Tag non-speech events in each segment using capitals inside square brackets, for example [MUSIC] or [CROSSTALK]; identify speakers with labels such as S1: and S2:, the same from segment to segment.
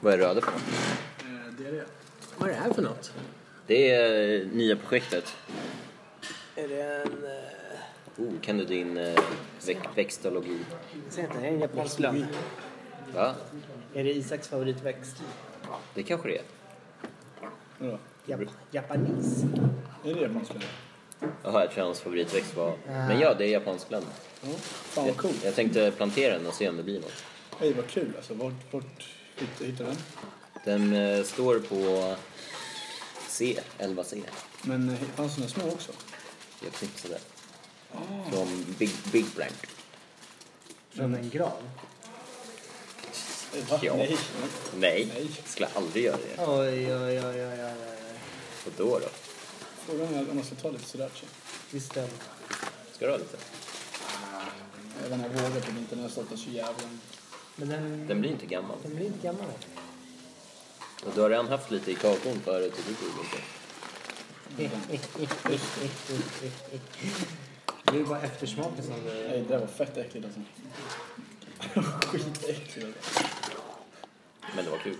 S1: Vad är Röde för något?
S2: Eh, Det är det. Vad är det här för något?
S1: Det är eh, nya projektet.
S2: Är det en... eh,
S1: Oh, kan du din eh, väx- växtologi?
S3: Säg inte, det är en japansk lön.
S1: Va?
S3: Är det Isaks favoritväxt?
S1: Det kanske det är.
S4: Vadå?
S3: Jap Japanis?
S4: Är det japanska?
S1: Jaha, jag tror hans favoritväxt var... Men ja, det är japansk lönn.
S4: Ja. Fan vad
S1: Jag,
S4: coolt.
S1: jag tänkte plantera den och se om det blir något.
S4: Hej vad kul alltså. Vart, vart hitt- hittar den?
S1: Den eh, står på C, 11C.
S4: Men eh, fanns den små också?
S1: Jag knipsade. Ah. Från Big, Big Blank.
S3: Från en gran?
S4: Eh, Va?
S1: Ja.
S4: Nej.
S1: Nej,
S4: Nej.
S1: skulle aldrig göra det.
S3: Oj, oj, oj, oj, oj, oj.
S1: Och då då?
S4: Frågan är om man ska ta lite sriracha.
S3: Visst den.
S1: Ska du ha lite?
S4: Jag vet inte, jag vågar typ inte. Den har stått där så jävla...
S3: Men den,
S1: Den blir inte gammal.
S3: den blir inte gammal.
S1: Och du har redan haft lite i kakon förut och det blir inte.
S3: Det är bara eftersmaken som...
S4: Nej, det där var fett äckligt alltså. [LAUGHS] Skitäckligt alltså.
S1: Men det var kul.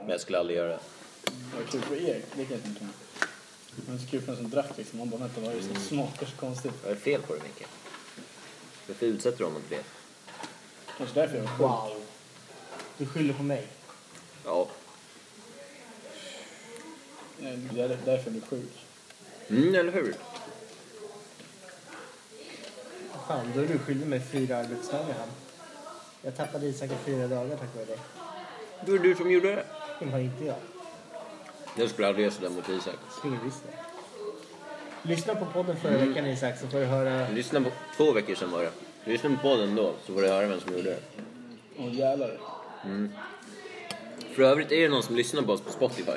S1: Men jag skulle aldrig göra det.
S4: Det var kul för er, det kan jag tänka mig. Men det är så kul för den som drack liksom. Man bara, vänta vad är det som smakar så konstigt?
S1: Vad är det fel på det, Micke? Varför utsätter du honom för det?
S4: Kanske därför jag var sjuk.
S3: Wow. Du skyller på mig.
S1: Ja.
S4: Nej, Eh, Det är därför jag blev sjuk.
S1: Mm, eller hur?
S3: Fan, då är du skyldig mig fyra arbetsdagar han. Jag tappade Isak i fyra dagar tack vare dig.
S1: Det var du som gjorde det.
S3: Det var inte jag.
S1: Jag skulle aldrig göra sådär mot Isak.
S3: Springer visst det. Lyssna på podden förra veckan Isak så får du höra.
S1: Lyssna på... Två veckor sedan var det. Lyssna på podden då, så får du höra vem som gjorde det.
S4: Åh jävlar.
S1: För övrigt, är det någon som lyssnar på oss på Spotify?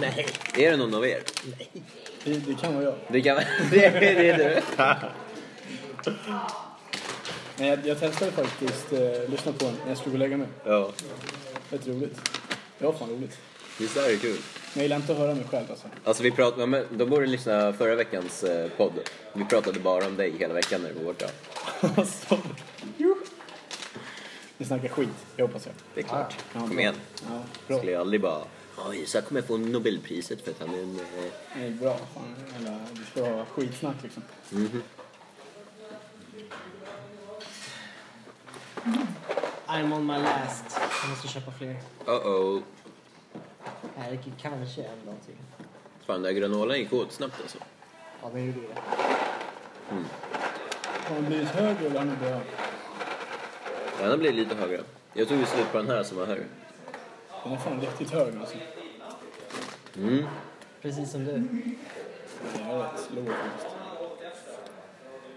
S3: Nej.
S1: Är det någon av er?
S4: Det, det kan vara jag.
S1: Det kan... [LAUGHS] det, är, det är du.
S4: Nej, jag, jag testade faktiskt eh, lyssna på den när jag skulle gå och lägga mig.
S1: Ja.
S4: Rätt roligt. Det var fan roligt.
S1: Visst är det kul?
S4: Men jag gillar inte att höra mig själv alltså. [LAUGHS]
S1: Alltså vi pratade... Ja, men de borde lyssna förra veckans eh, podd. Vi pratade bara om dig hela veckan när du var borta.
S4: alltså. Ni snackar skit, jag hoppas jag.
S1: Det är klart.
S4: Ah, Ja, bra.
S1: Kom igen.
S4: Ja, bra.
S1: Skulle jag aldrig bara... Ja, Isak kommer få Nobelpriset för att han är en... eh,
S4: Nej, bra. Fan, jävla, du ska ha skitsnack liksom.
S3: I'm on my last. Jag måste köpa fler.
S1: Uh-oh.
S3: Här räcker kanske en dag till.
S1: Fan, den där granolan gick åt snabbt alltså.
S3: Ja, den gjorde det.
S4: Har han blivit högre eller har han blivit högre?
S1: Den här blir lite högre. Jag tog ju slut på den här som var här.
S4: Den är fan riktigt hög alltså.
S1: Mm.
S3: Precis som du.
S4: Den är rätt låg faktiskt.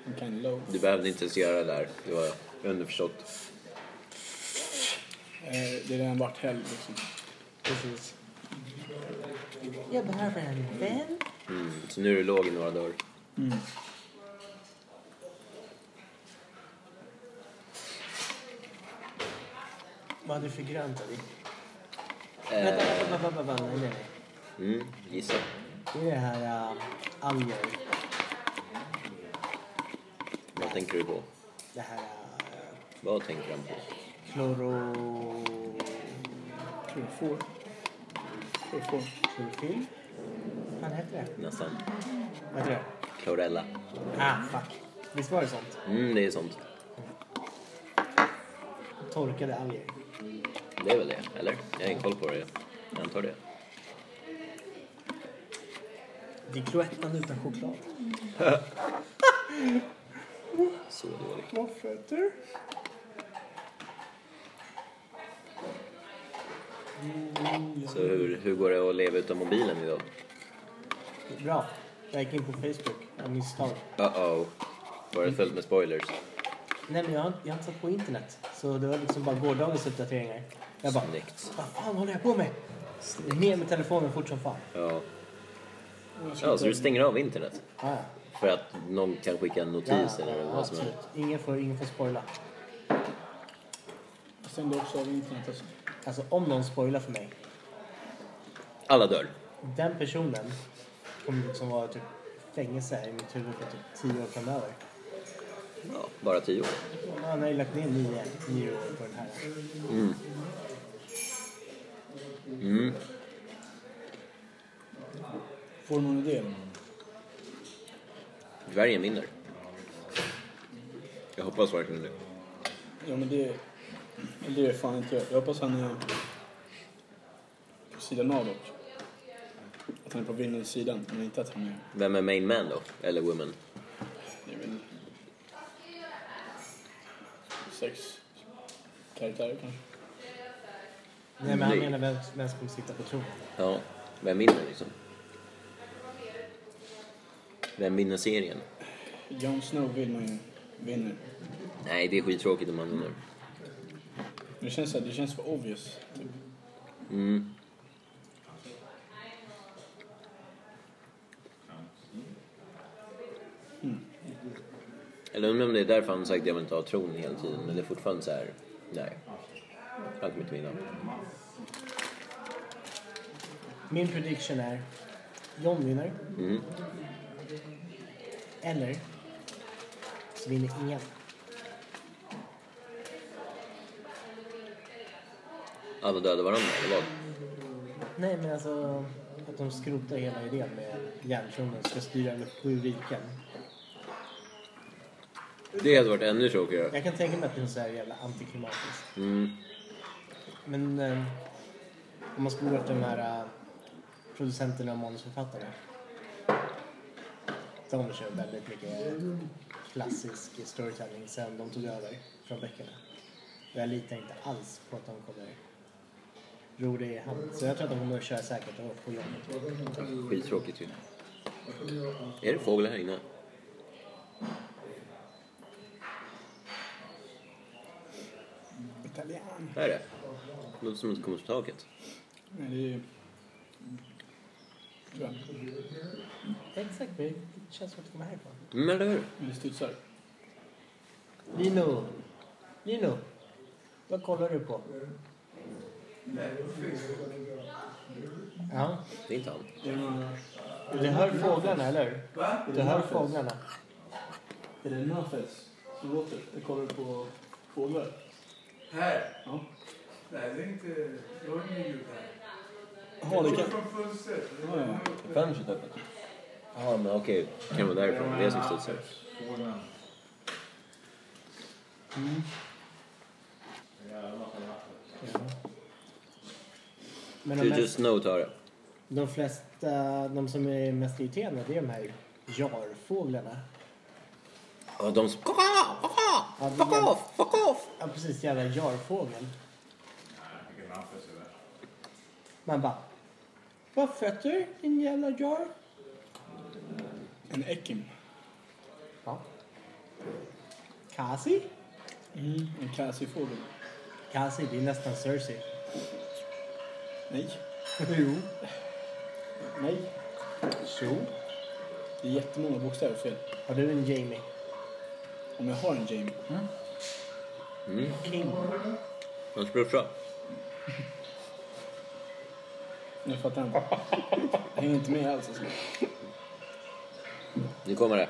S4: Den kan low.
S1: Du behövde inte ens göra det där. Det var underförstått.
S4: Eh, det är den vart helg liksom.
S3: Precis. Jag behöver en vän.
S1: Mm. Så nu är du låg i några dagar.
S3: Vad hade du för grönt av dig? Vänta,
S1: Eh,
S3: vänta, vänta, vänta. Nej, nej, nej.
S1: mm, gissa.
S3: Det är det här äh, alger.
S1: Vad tänker du på?
S3: Det här äh,
S1: Vad tänker han på?
S3: kloro...
S4: Klorofor. Klorofor.
S3: Klorofyll? Vad fan heter det?
S1: Nästan.
S3: Vad heter det?
S1: Chlorella.
S3: Ah, fuck. Visst var det sånt?
S1: Mm, det är sånt.
S3: Torkade alger.
S1: Det är väl det, eller? Jag har ingen koll på det. Jag antar det.
S3: Det är Cloettan utan choklad.
S1: Så dåligt.
S4: Våfflor.
S1: Så hur, hur går det att leva utan mobilen idag?
S3: Bra. Jag gick in på Facebook av misstag.
S1: Uh-oh. Var det fullt med spoilers?
S3: Nej, men jag har, jag har inte satt på internet. Så det var liksom bara gårdagens uppdateringar. Jag bara,
S1: Snyggt.
S3: vad fan håller jag på med? Ner med telefonen fort som fan.
S1: Ja. ja, så du stänger av internet?
S3: Ah, ja.
S1: För att någon kan skicka en notis eller vad som helst?
S3: absolut. Ingen får, ingen får spoila.
S4: Jag stängde också av internet alltså.
S3: Alltså om någon spoilar för mig.
S1: Alla dör.
S3: Den personen kommer liksom vara typ fängelse här i mitt huvud för typ tio år framöver.
S1: Ja, bara tio år.
S3: Han har ju lagt ner nio, nio år på den här.
S4: Får du någon idé eller?
S1: Dvärgen vinner. Jag hoppas verkligen det.
S4: Ja men det... Det är fan inte jag. Jag hoppas han är... På sidan av dock. Att han är på vinnarens sidan. Men inte att han är...
S1: Vem är main man då? Eller woman?
S4: Jag vet inte. Sex karaktärer kanske.
S3: Nej men han
S1: Nej.
S3: menar vem, vem som kommer sitta på tronen.
S1: Ja, vem vinner liksom? Vem vinner serien?
S4: Jon Snow vill man ju vinner.
S1: Nej, det är skittråkigt om man vinner.
S4: Men Det känns, så här, det känns för obvious. Typ.
S1: Mm. Eller undrar om det är därför han sagt att jag vill inte ha tron hela tiden, men det är fortfarande så här. nej. Han kommer inte vinna.
S3: Min prediction är John vinner.
S1: Mm.
S3: Eller så vinner ingen.
S1: Alla dödar varandra, eller vad?
S3: Nej men alltså att de skrotar hela idén med järntronen ska styra över sju riken.
S1: Det hade varit ännu tråkigare.
S3: Jag kan tänka mig att det är så här jävla antiklimatiskt.
S1: Mm.
S3: Men eh, om man skulle gå efter de här eh, producenterna och manusförfattarna. De kör väldigt mycket klassisk storytelling sen de tog över från böckerna. Och jag litar inte alls på att de kommer ro det i hamn. Så jag tror att de kommer att köra säkert och få jobbet.
S1: Skittråkigt ju. Är det fåglar här inne?
S4: Italian.
S1: Här är det. Låter som att det kommer på taket.
S4: Nej, det är ju... Tror jag.
S3: Exakt, men det känns som att det kommer härifrån.
S1: Mm, eller hur?
S4: Men det studsar.
S3: Lino! Lino! Vad kollar du på? Ja.
S1: Det är inte han.
S4: Det är några...
S3: Du hör fåglarna, eller hur? Du hör fåglarna.
S4: Är det Nafes som låter? Jag kollar på fåglar.
S5: Här?
S4: Ja.
S5: Nej, det är inte...
S6: uh,
S5: Jag har ingen ljud här.
S4: Jaha, det kan...
S5: Från fönstret.
S4: Ja, ja.
S1: Fönstret öppet? Ja, men okej. Kan vara därifrån. Det är som studsar.
S3: Men de,
S1: Du, du
S3: mest,
S1: Snow tar det.
S3: de flesta, de som är mest irriterande, det är de här jarfåglarna.
S1: Ja, de som... Fuck
S3: Ja,
S1: off!
S3: det-
S1: Fuck off! Fuck off!
S3: Ja, precis. Jävla jarfågel. Man bara... Vad fötter, din jävla jar?
S4: En ekim.
S3: Ja. Kasi?
S4: En Cassie-fågel.
S3: Kasi, det är
S1: [LAUGHS]
S3: nästan Cersei.
S4: Nej.
S3: Jo.
S4: Nej.
S3: Jo.
S4: Det är jättemånga bokstäver fel.
S3: Har du en Jamie?
S4: Om jag har en Jamie.
S3: King.
S1: Hans brorsa.
S4: Jag fattar inte. Jag hänger inte med alls. Alltså.
S1: Nu kommer det.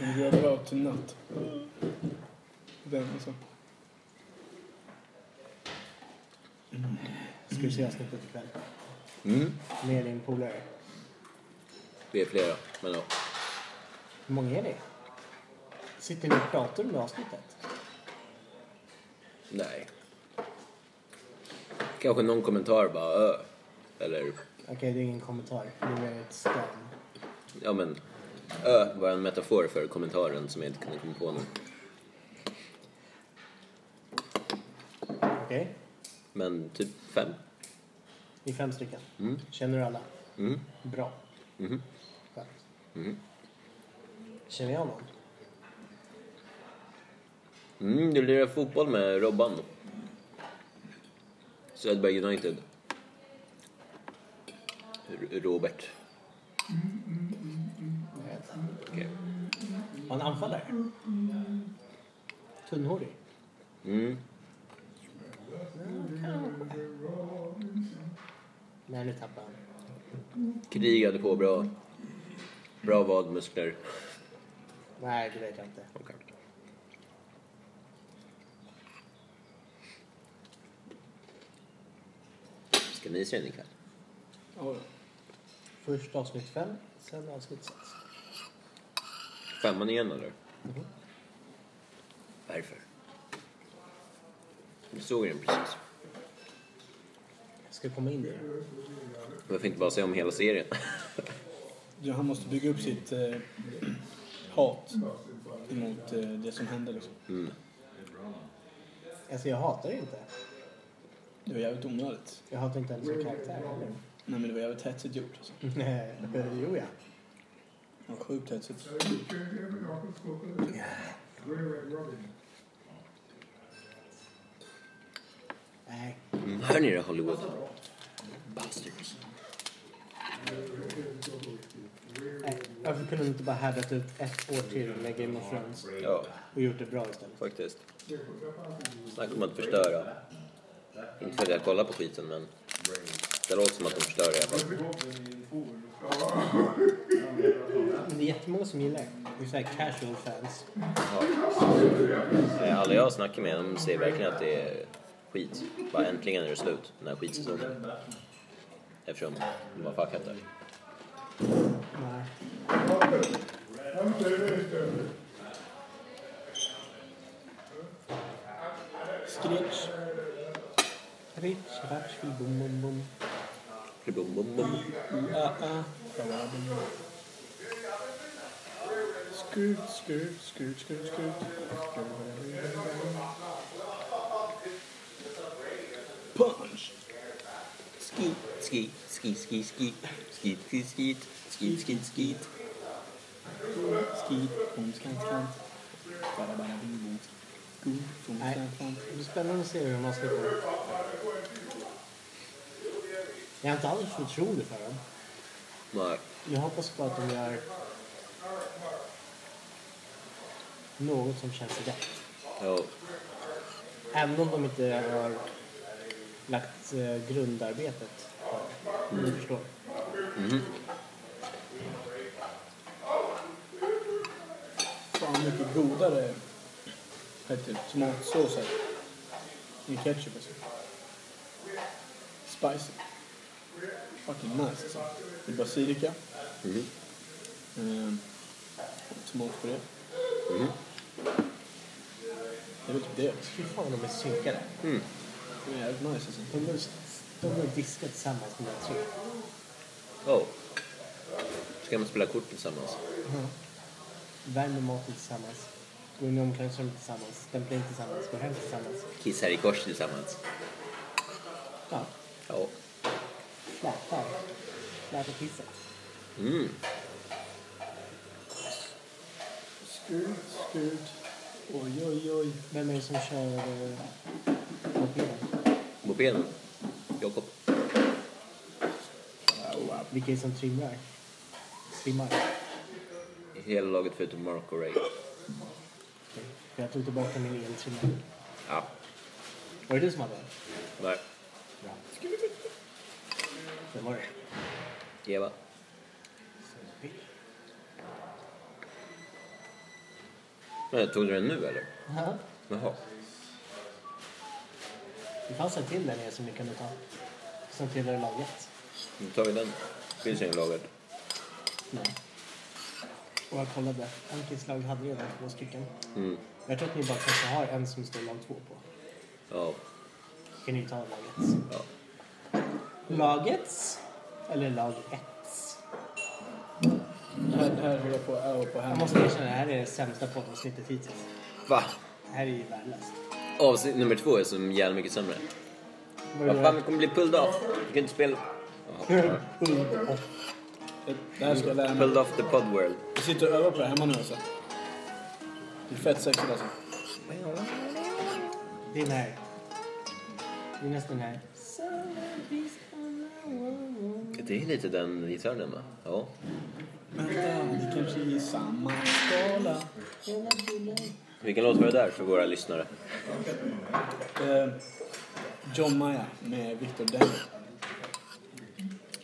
S4: Men vi har bra till natt. Den alltså.
S3: Ska du se avsnittet ikväll?
S1: Mm.
S3: Med din polare.
S1: Vi är flera. Men ja.
S3: Hur många är ni? Sitter ni och pratar om det avsnittet?
S1: Nej. Kanske någon kommentar bara ö. Eller...
S3: Okej, det är ingen kommentar. Det är mer ett scan.
S1: Ja, men... Ö var en metafor för kommentaren som jag inte kunde komma på nu.
S3: Okej?
S1: Men typ fem.
S3: Ni är fem stycken.
S1: Mm.
S3: Känner du alla?
S1: Mm.
S3: Bra.
S1: Mhm.
S3: Skönt. Känner jag någon?
S1: Mm, du lirar fotboll med Robban. Söderberg United. R- Robert.
S3: Jag vet inte.
S1: Okej.
S3: Var han anfallare? Tunnhårig?
S1: Mm.
S3: Nej, nu tappade han.
S1: Krigade på bra. Bra vadmuskler.
S3: Nej, det vet jag inte.
S1: Okej. Ska ni se den ikväll?
S4: Ja, ja.
S3: Först avsnitt fem, sen avsnitt sex.
S1: Femman igen eller?
S3: Mhm.
S1: Varför? Du såg den precis.
S3: Ska vi komma in i det?
S1: Varför inte bara säga om hela serien?
S4: Ja, Han måste bygga upp sitt eh, hat emot eh, det som hände. Liksom.
S1: Mm.
S3: Alltså, jag hatar det inte.
S4: Det var jävligt onödigt.
S3: Jag hatar inte ens som karaktär heller.
S4: Nej, men det var jävligt hetsigt gjort. Alltså.
S3: Nej, [LAUGHS] jo ja.
S4: Det var sjukt hetsigt.
S3: Nej,
S1: Mm. Hör ni det Hollywood? Bastards.
S3: nej. Varför kunde de inte bara härdat ut ett år till med Game of Thrones
S1: Ja,
S3: och gjort det bra istället?
S1: faktiskt. Snacka om att förstöra. Inte för att jag kollar på skiten men det låter som att de förstör i alla fall.
S3: Men det är jättemånga som gillar det. Det är så här casual fans.
S1: Eh, Alla jag snackar med de säger verkligen att det är skit. Bara äntligen är det slut, den här skitsäsongen. Eftersom de har fuckat det.
S3: Nej.
S4: Screech.
S3: Rich, ratch, fi, bum, bum, bum.
S1: Bum, bum, bum.
S4: Uh-uh. Scoot, scoot, scoot, scoot, scoot. Punch!
S1: Skit, skit, skit, skit, skit. Skit, skit, skit. Skit, skit, skit.
S4: Skit, boom, skant, skant. Bara, bara, boom, boom. Scoot, boom,
S3: Nej.
S4: skant, skant.
S3: Det blir spännande att se hur man ska gå. Jag har inte alls förtroende för dem.
S1: Nej.
S3: Jag hoppas på att de gör något som känns rätt.
S1: Ja.
S3: Även om de inte har lagt eh, grundarbetet. Om Du förstår.
S4: Fan typ mycket godare heter det, tomatsåser än ketchup alltså. Spicy. Fucking nice alltså. Det är basilika.
S1: Mhm.
S4: Ehm, tomatpuré. Det är väl typ det. alltså.
S3: Fy fan de är synkade.
S4: Det är jävligt nice alltså.
S3: De är, de är diskade tillsammans med tre.
S1: Oh. Ska man spela kort tillsammans?
S3: Värmer maten tillsammans. Går in i omklädningsrummet tillsammans. Stämplar in tillsammans. Går hem tillsammans.
S1: Kissar i kors tillsammans?
S3: Ja,
S1: Ja.
S3: flätar. Flätar kisset.
S1: Mm.
S4: Skrut, skrut. Oj, oj, oj.
S3: Vem är det som kör eh, mopeden?
S1: Mopeden? Jakob?
S3: Vilka är det som trimmar? Trimmar?
S1: Hela laget förutom Marco Ray.
S3: För jag tog tillbaka min egen trimmare.
S1: Ja.
S3: Var det du som hade den?
S1: Nej.
S3: Ja. Det var det.
S1: Eva? Men, tog du den nu eller?
S3: Ja.
S1: Jaha.
S3: Det fanns en till där nere som vi kunde ta. Som tillhör laget.
S1: Då tar vi den. Finns ingen laget.
S3: Nej. Och jag kollade. Ankis lag hade redan två stycken.
S1: Mm.
S3: Jag tror att ni bara kanske har en som står lag två på.
S1: Ja.
S3: Kan ni ta laget?
S1: ja.
S3: Lagets? Eller lag ett?
S4: Här, här håller jag på att öva på
S3: Jag
S4: hemma.
S3: måste erkänna, det här är det sämsta poddavsnittet hittills.
S1: Va?
S3: Det här är ju värdelöst.
S1: Avsnitt nummer två är så jävla mycket sämre.
S3: Vad
S1: Vad
S3: är
S1: fan,
S3: det?
S1: vi kommer bli pulled off. Vi kan inte spela. Jaha.
S3: Ung och
S4: Det, det här ska jag lära mig.
S1: Pulled off the pod world.
S4: Jag sitter och övar på det hemma nu alltså. Det är fett sexigt alltså.
S3: Det är när. Det är nästan när.
S1: Det är lite den gitarren va? Ja.
S4: Vänta, det kanske är i samma skala.
S1: Vilken låt var det där för våra lyssnare?
S4: Eh, John Mayer med Victor Denny.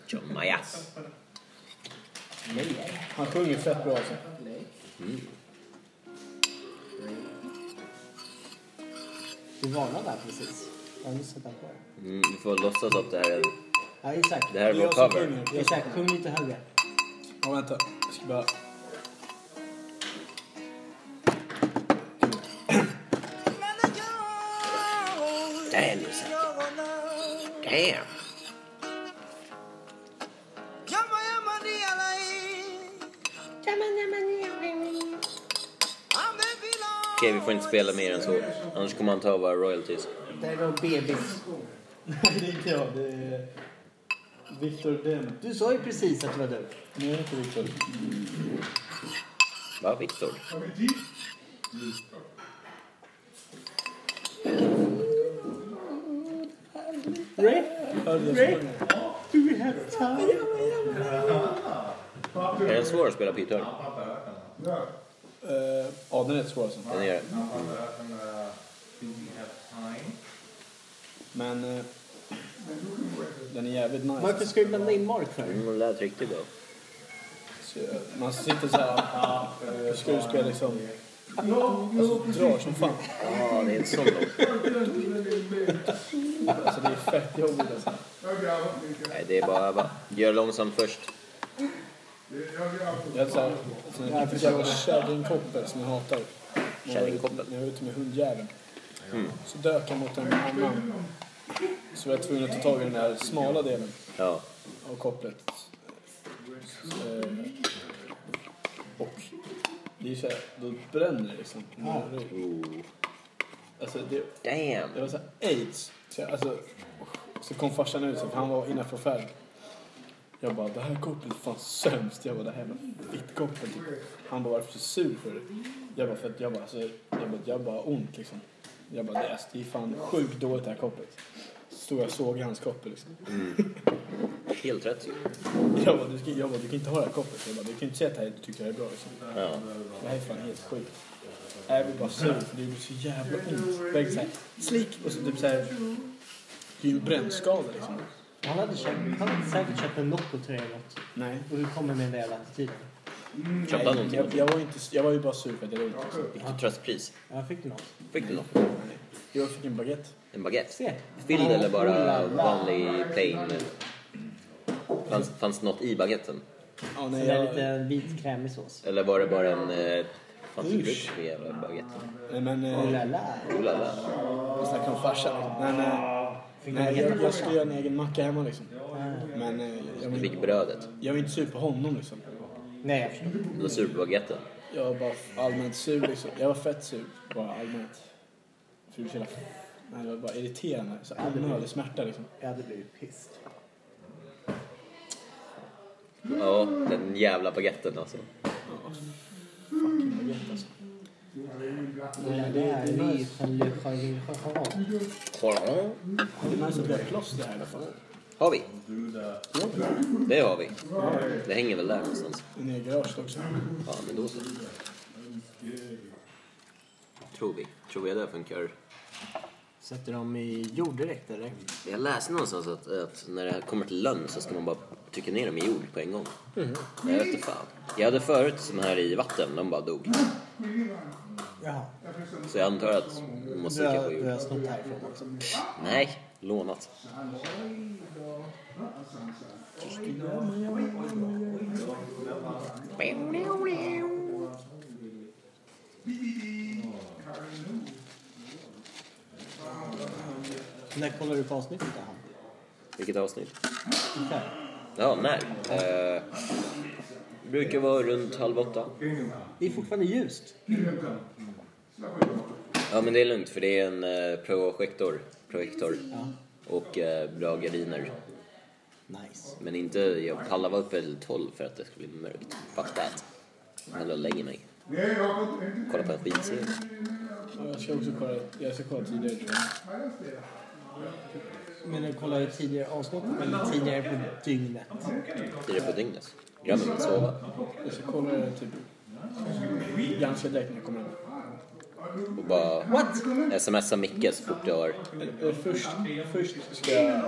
S1: John Majas.
S4: Han sjunger fett bra alltså.
S3: Du varnade där precis. Jag har nyss sett den på det.
S1: Mm, du får låtsas att det här är,
S3: Ja, Isak.
S1: det här är
S4: Det är
S1: vår
S4: jag som
S1: cover.
S4: sjunger. Det är jag som
S3: Isak, sjung lite högre.
S4: Ja, vänta. Jag ska bara... [LAUGHS]
S1: Damn Isak. Damn! Okej, vi får inte spela mer än så. Annars kommer han ta våra royalties.
S3: Det är nog bebis.
S4: Nej, det är inte jag. Det är Victor Denny.
S3: Du sa ju precis att det var du.
S4: Nej, det är inte Victor.
S1: Va, Viktor?
S4: Hör du det? som sjunger?
S1: Är den svår att spela på gitarr?
S4: Eh, Ja, den är rätt svår alltså.
S1: Den är det.
S6: uh, [LAUGHS]
S4: Men... eh, Den är jävligt nice.
S3: Varför ska du blanda in Mark för?
S1: Mm, Den lät riktigt bra.
S4: Så, eh, Man sitter så här och skruvspelar liksom. Alltså drar som fan.
S1: Ja, det är en sån låt.
S4: Alltså det är fett jobbigt alltså.
S1: Nej, det är bara öva. Gör långsamt först.
S4: Jag hade så här, alltså, en riktigt jävla kärringkoppel som jag hatar. När jag var ute-
S1: Kärringkoppel?
S4: När jag var ute med hundjäveln. Så dök jag mot en annan. Så var jag tvungen att ta tag i den där smala delen
S1: Ja.
S4: av kopplet. Eh, Och det är ju så här, då bränner det liksom.
S1: Ooh.
S4: Alltså det, det
S1: Damn!
S4: var så här aids. Så, jag, alltså, så kom farsan ut, så, för han var innanför färg. Jag bara, det här kopplet är fan sämst. Jag bara, det här jävla fittkopplet. Typ. Han bara, varför är du så sur för det? Jag bara, för att jag bara, alltså, jag bara, jag bara har ont liksom. Jag bara, det är, det är fan sjukt dåligt det här kopplet. Så stod jag och såg hans koppel liksom.
S1: Helt rätt ju.
S4: Jag bara, du, ska, jag bara, du kan inte ha det här kopplet. Jag bara, du kan inte säga att det här, du tycker det här är bra liksom.
S1: Ja.
S4: Det här är fan helt sjukt. Nej, Jag blir bara sur för det gjorde så jävla ont. Jag gick såhär, slick! Och så typ såhär... Det är ju en brännskada liksom.
S3: Han hade, köpt, han hade säkert köpt en Nocco-tröja eller något.
S4: Nej.
S3: Och du kommer med den där jävla attityden.
S1: Köpte han
S4: Nej,
S1: någonting?
S4: jag, jag, var ju inte, jag var ju bara sur för att jag var ute. Liksom.
S1: Fick du tröstpris?
S3: Ja, fick du något?
S1: Fick du något?
S4: Jag fick en baguette.
S1: En baguette?
S3: Se. Oh,
S1: Fylld eller bara vanlig plain? Fanns, fanns något i baguetten?
S4: Ja,
S3: Så
S4: nej,
S3: det är
S4: jag,
S3: lite vit krämig sås.
S1: Eller var det bara en... Eh, fanns det
S4: Usch.
S1: frukt med jävla baguetten?
S4: nej men...
S3: Oh
S4: Eh,
S3: la la.
S1: Oh la la.
S4: jag snackar om farsan. Men... Eh, nej, jag, jag skulle göra en egen macka hemma liksom. Men eh, jag,
S1: Du
S4: var
S1: fick
S4: inte-
S1: brödet.
S4: jag var inte sur på honom liksom.
S3: Nej, jag förstår.
S1: Du var sur på baguetten.
S4: Jag var bara allmänt sur liksom. Jag var fett sur. Bara allmänt. För det var så jävla- nej, det var bara irriterande. Så onödig smärta liksom.
S3: Jag hade blivit pissed.
S1: Ja, den jävla baguetten alltså.
S4: Fucking baguette alltså.
S3: Oh la la. Vi fan le chauvin chauvin.
S4: Det är nice att vi har kloster här i alla fall.
S1: Har vi? Det har vi. Det hänger väl där någonstans.
S4: En egen garaget också.
S1: Ja, men då så. Tror vi. Tror jag det funkar.
S3: Sätter dem i jord direkt eller?
S1: Jag läste någonstans att, att när det här kommer till lönn så ska man bara trycka ner dem i jord på en gång. Jag vet inte fan. Jag hade förut sån här i vatten, de bara dog.
S3: Jaha.
S1: Så jag antar att man måste
S3: Du
S1: trycka på
S3: har, du
S1: jord.
S3: har snott härifrån också.
S1: Nej, lånat.
S3: När kollar du på avsnittet då? han?
S1: Vilket avsnitt?
S3: Ikväll?
S1: Ja, när? Eh, brukar vara runt halv åtta.
S3: Det är fortfarande ljust.
S1: Ja, men det är lugnt för det är en eh, projektor, projektor och eh, bra gardiner.
S3: Nice.
S1: Men inte, jag pallar vara uppe till 12 för att det ska bli mörkt. Fuck that. Jag går och lägger mig.
S5: Nej, jag har inte...
S1: Kollar på en skitserie.
S4: Ja, jag ska också kolla, jag ska kolla tidigare tror jag.
S3: Men du kollar ju tidigare avsnitt eller tidigare på dygnet?
S1: Tidigare på dygnet. Glömmer att sova.
S4: Jag ska kolla det typ ganska direkt när jag kommer hem.
S1: Och bara... What? Smsar Micke så fort jag har...
S4: Eller, eller Eh, Först, först ska jag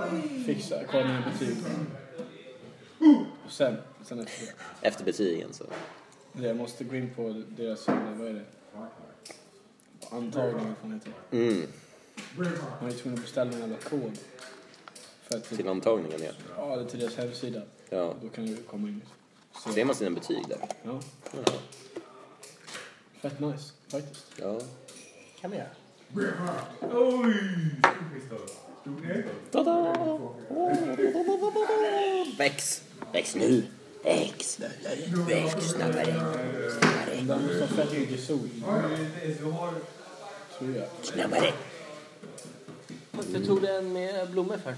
S4: fixa, kolla mina betyg. Och sen, sen efter det.
S1: Efter betygen så...
S4: det. Jag måste gå in på deras, vad är det? Antagning, vad fan heter det?
S1: Mm,
S4: Man är tvungen att beställa en jävla kod. För att typ-
S1: till antagningen ja.
S4: Ja, eller till deras hemsida.
S1: Ja.
S4: Då kan du komma in. Så,
S1: Ser man sina betyg där?
S4: Ja,
S1: Ja.
S4: fett nice faktiskt.
S1: ja.
S3: kan vi göra.
S1: Ta-da! Väx! Väx nu! Väx! Väx snabbare!
S4: Men Där måste ha fett mycket sol. Tror jag.
S1: Snabbare!
S2: Varför tog du en med blommor för?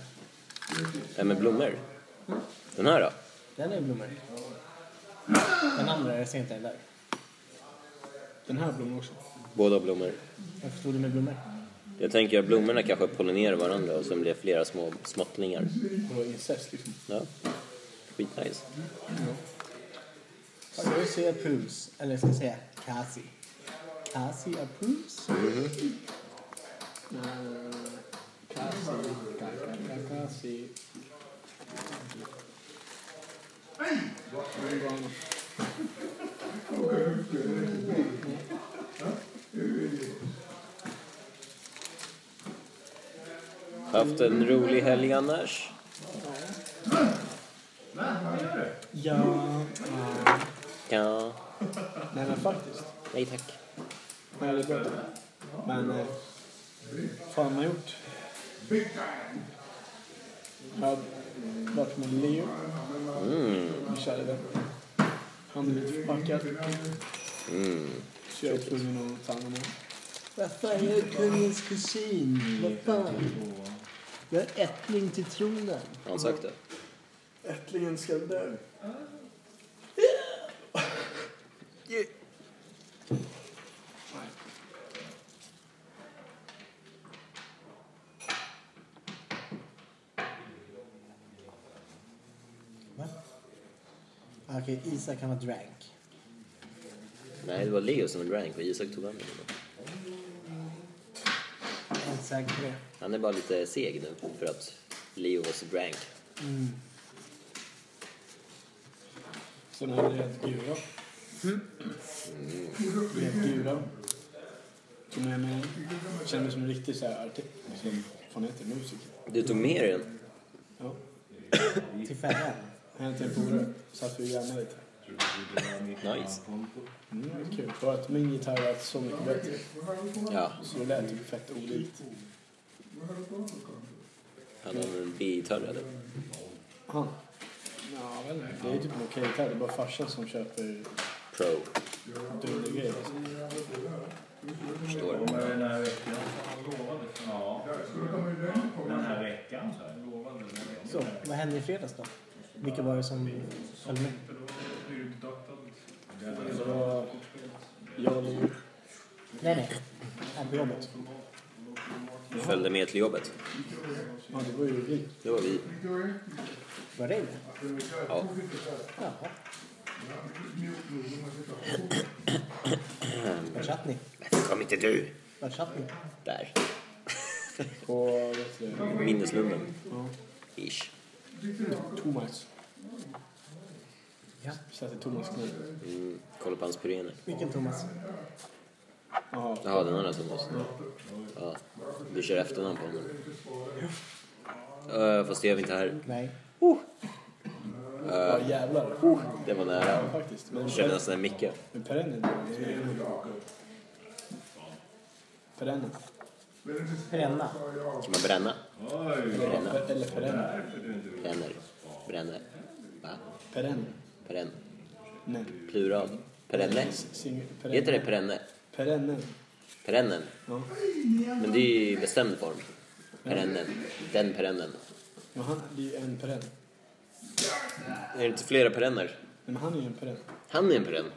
S1: Ja, men blommor. Den här då?
S3: Den är blommor. Den andra är sent där.
S4: Den här blomman också.
S1: Båda blommor.
S3: Jag förstod det med blommor.
S1: Jag tänker att blommorna kanske pollinerar varandra och sen blir det flera små småttlingar.
S4: Och då incest liksom.
S1: Ja. Skitnice.
S3: Cersei approves. Eller jag ska säga Cassie. Cassie approves.
S4: Kasi, kaka, kasi.
S1: Haft en rolig helg annars?
S4: Ja. ja.
S1: Ja.
S4: Nej men faktiskt.
S1: Nej tack.
S4: Nej, det är bra. Men... eh, fan har man gjort? Jag har varit med Leo. Min kära vän. Han är lite förpackad. Så jag är tvungen att ta hand om honom.
S3: Vad fan, jag är kungens kusin. Vad fan. Jag är ättling till tronen.
S1: Har han sagt det?
S4: Ättlingen ska dö.
S3: Va? Ah, Okej, Isak kan vara drank.
S1: Nej, det var Leo som var rank och Isak tog hand om honom.
S3: Jag är inte säker på det.
S1: Han är bara lite seg nu för att Leo var så drank.
S4: Sen har vi ett gura. Mm. Red gura. Tog med mig. Kände mig som en riktig så här artist. Som fan heter det? musiker.
S1: Du tog med dig den?
S4: Ja.
S3: Till färjan.
S4: Här till en polare. Satt vi och jammade lite.
S1: Nice.
S4: Mm, det var kul. Bara att min gitarr lät så mycket bättre.
S1: Ja.
S4: Så det lät typ fett olikt.
S1: Hade han en B-gitarr eller?
S4: Han? Ja, väl Det är typ en okej gitarr. Det är bara farsan som köper
S1: Pro.
S4: dundergrejer. Alltså.
S1: Förstår.
S6: Kommer den här veckan? Ja. Den här veckan så här.
S3: Så, vad hände i fredags då? Vilka var det som följde med?
S4: Så det var jag och Leo.
S3: Nej, nej. Ja, på jobbet.
S1: Följde med till jobbet.
S4: Ja, det var ju vi.
S1: Det var vi.
S3: Var det det?
S1: Ja.
S3: Ja. Vart satt ni?
S1: Varför kom inte du?
S3: Vart satt ni?
S1: Där.
S4: På, vet du,
S1: Minneslunden.
S4: ja,
S1: Ish.
S4: Thomas.
S3: Ja.
S4: Satt i Thomas knä.
S1: Mm. Kolla på hans pyréner.
S3: Vilken Thomas?
S4: Ja,
S1: Jaha, den andra Thomas. Ja. Du kör efternamn på honom. Uh, fast det är vi inte här. Eh,
S3: Nej.
S4: ja jävlar. Oh,
S1: Det var nära.
S4: faktiskt. Men
S1: Jag känner
S4: Per-
S1: nästan en Micke.
S4: men perennen. Perennen.
S3: Perenna.
S1: Kan man bränna?
S4: Ja, per- Eller perennen.
S1: Bränner. Bränne. Va?
S4: Perennen.
S1: Perenn.
S4: Nej.
S1: Plural. Perenne.
S4: Sing- perennen.
S1: Heter det perenne?
S4: Perennen.
S1: Perennen.
S4: Ja.
S1: Men det är ju i bestämd form. Perennen. Den perennen.
S4: Men han, det är ju en perenn.
S1: Är det inte flera perenner?
S4: Men han är ju en perenn.
S1: Han är en perenn.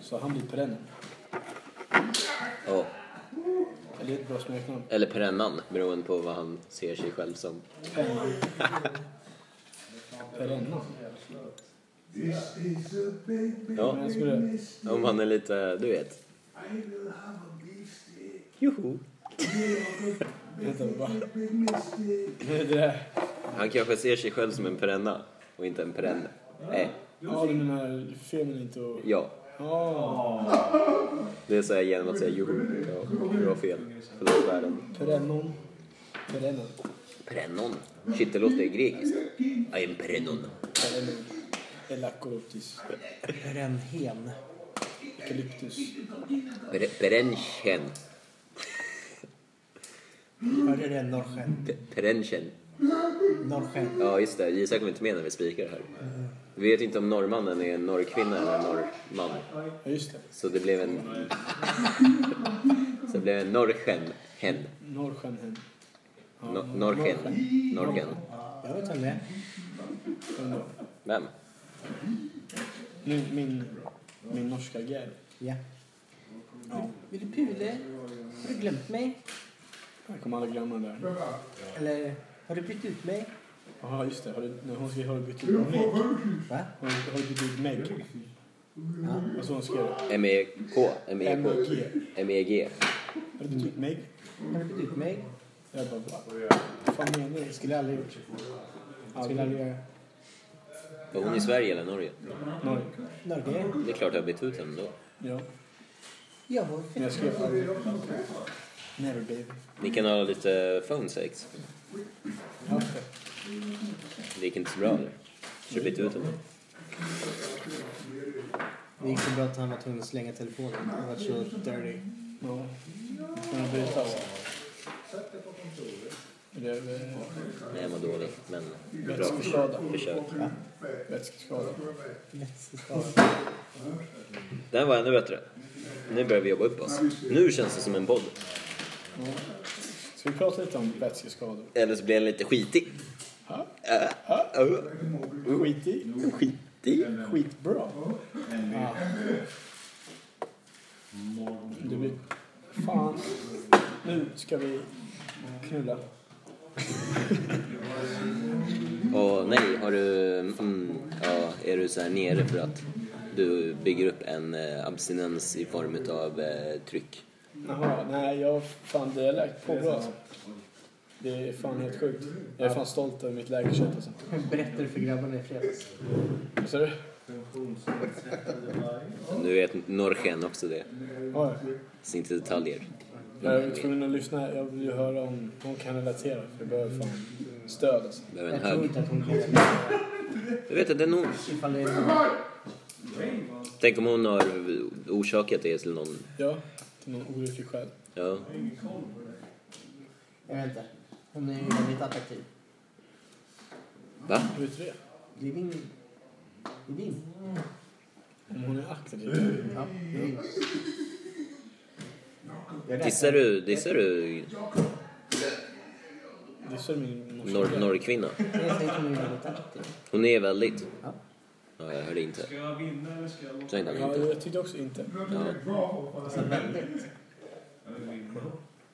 S4: Så han blir perennen.
S1: Ja.
S4: Eller det är ett bra smeknamn.
S1: Eller perennan, beroende på vad han ser sig själv som.
S4: Perennan. Perennan.
S5: This is a baby.
S1: Ja,
S4: Men jag skulle...
S1: om han är lite, du vet.
S5: I will have a beefsteak.
S1: Joho.
S4: Vänta, vad?
S5: Big mistake.
S4: Det där.
S1: Han kanske ser sig själv som en perenna och inte en perenne. Nej,
S4: Ja, du menar feminint och...
S1: ja.
S4: Ja,
S1: Det säger jag genom att säga joho. Ja, det var fel. Förlåt världen.
S4: perennon. Perennon.
S1: Perennon. Shit, det låter grekiskt. I am perennon.
S4: Perennon. Elacoroptis.
S3: Renhen.
S4: Eukalyptus.
S1: Per- Perenchen.
S3: Hörde du det? Norrsken.
S1: Pe- Perenchen.
S3: Norrsken.
S1: Ja, just det. Isak var inte med när vi spikar här. Vi vet inte om norrmannen är en norrkvinna eller en norrman.
S4: Ja, just det.
S1: Så det blev en... Så det blev en norrsken. Hen.
S4: Norrskenhen. Ja,
S1: No- norrsken. Norrsken.
S3: Jag vet vem det är.
S4: Norrsken.
S1: Vem?
S4: Min, min, min norska gäll.
S3: Ja.
S2: Vill du pule?
S3: Har du glömt mig?
S4: Jag kommer aldrig glömma den där.
S3: Eller har du bytt ut mig?
S4: Ja, just det. Har du, när hon skrev har du bytt ut Meg.
S3: Va?
S4: Har du, har du bytt ut Meg?
S3: Ja.
S4: Alltså hon skrev
S1: M-E-K.
S4: M och
S1: M-E-K.
S4: G.
S1: M-E-G.
S4: Har du bytt ut Meg?
S3: Har du bytt ut mig?
S4: typ Jag bara, vad fan menar du?
S3: Det skulle jag aldrig gjort. Skulle aldrig
S4: Aldrig.
S3: göra.
S1: Var hon i Sverige eller Norge?
S4: Norge.
S3: Norge?
S1: Det är klart jag har bytt ut henne då.
S4: Ja.
S3: Ja, vad fett.
S4: Men jag skrev aldrig. Never baby.
S1: Ni kan ha lite phone sex.
S4: Ja, okej.
S1: Det gick inte så bra eller? Så du bytte ut henne?
S3: Det gick så bra att han var tvungen att slänga telefonen. Han var så dirty.
S4: Ja. Kan du byta? Eller eh,
S1: Nej, jag mår dåligt. Men bra
S4: vätskeskada.
S1: försök.
S4: Vätskeskada.
S3: Vätskeskada.
S1: Den var ännu bättre. Nu börjar vi jobba upp oss. Nu känns det som en podd.
S4: Ja. Ska vi prata lite om vätskeskador?
S1: Eller så blir den lite skitig.
S4: Ja.
S1: Äh, äh,
S4: Skit i.
S1: Skitig?
S4: Skitbra. Ja. Det blir... Fan. Nu ska vi knulla.
S1: Och nej, har du... Mm, ja, är du så här nere för att du bygger upp en eh, abstinens i form av eh, tryck?
S4: Jaha, nej jag... Fan det har lagt på bra alltså. Det är fan helt sjukt. Jag är fan stolt över mitt lägerkött alltså.
S3: Berättade för grabbarna i fredags.
S4: Vad sa du?
S1: Nu vet norrsken också det.
S4: Ja,
S1: Så inte detaljer.
S4: jag är tvungen att lyssna. Jag vill ju höra om hon kan relatera. För jag behöver fan stöd alltså.
S1: Behöver en
S3: Jag tror
S1: hög.
S3: inte att hon kan relatera.
S1: Jag vet att det är nog...
S3: Ifall det är
S1: Tänk om hon har orsakat det till någon...
S4: Ja, till någon olycklig själ.
S1: Ja.
S3: Jag vet inte. Hon är ju väldigt attraktiv.
S1: Va?
S4: Hur vet du det?
S3: Det är din... Det är din.
S4: Om hon är aktiv.
S3: Ja, det är din. Jag räknar-
S1: Dissar du, dissar du
S4: Det är så min norska
S1: norr,
S4: grej.
S1: norrkvinna?
S3: Jag säger att hon är väldigt attraktiv.
S1: Hon är väldigt...
S3: Ja.
S1: Ja, jag hörde inte.
S6: Ska jag vinna eller ska jag låta?
S1: Så inte han
S4: Ja,
S1: inte.
S4: jag tyckte också inte.
S1: Ja.
S3: Så väldigt.
S6: Jag vill vinna.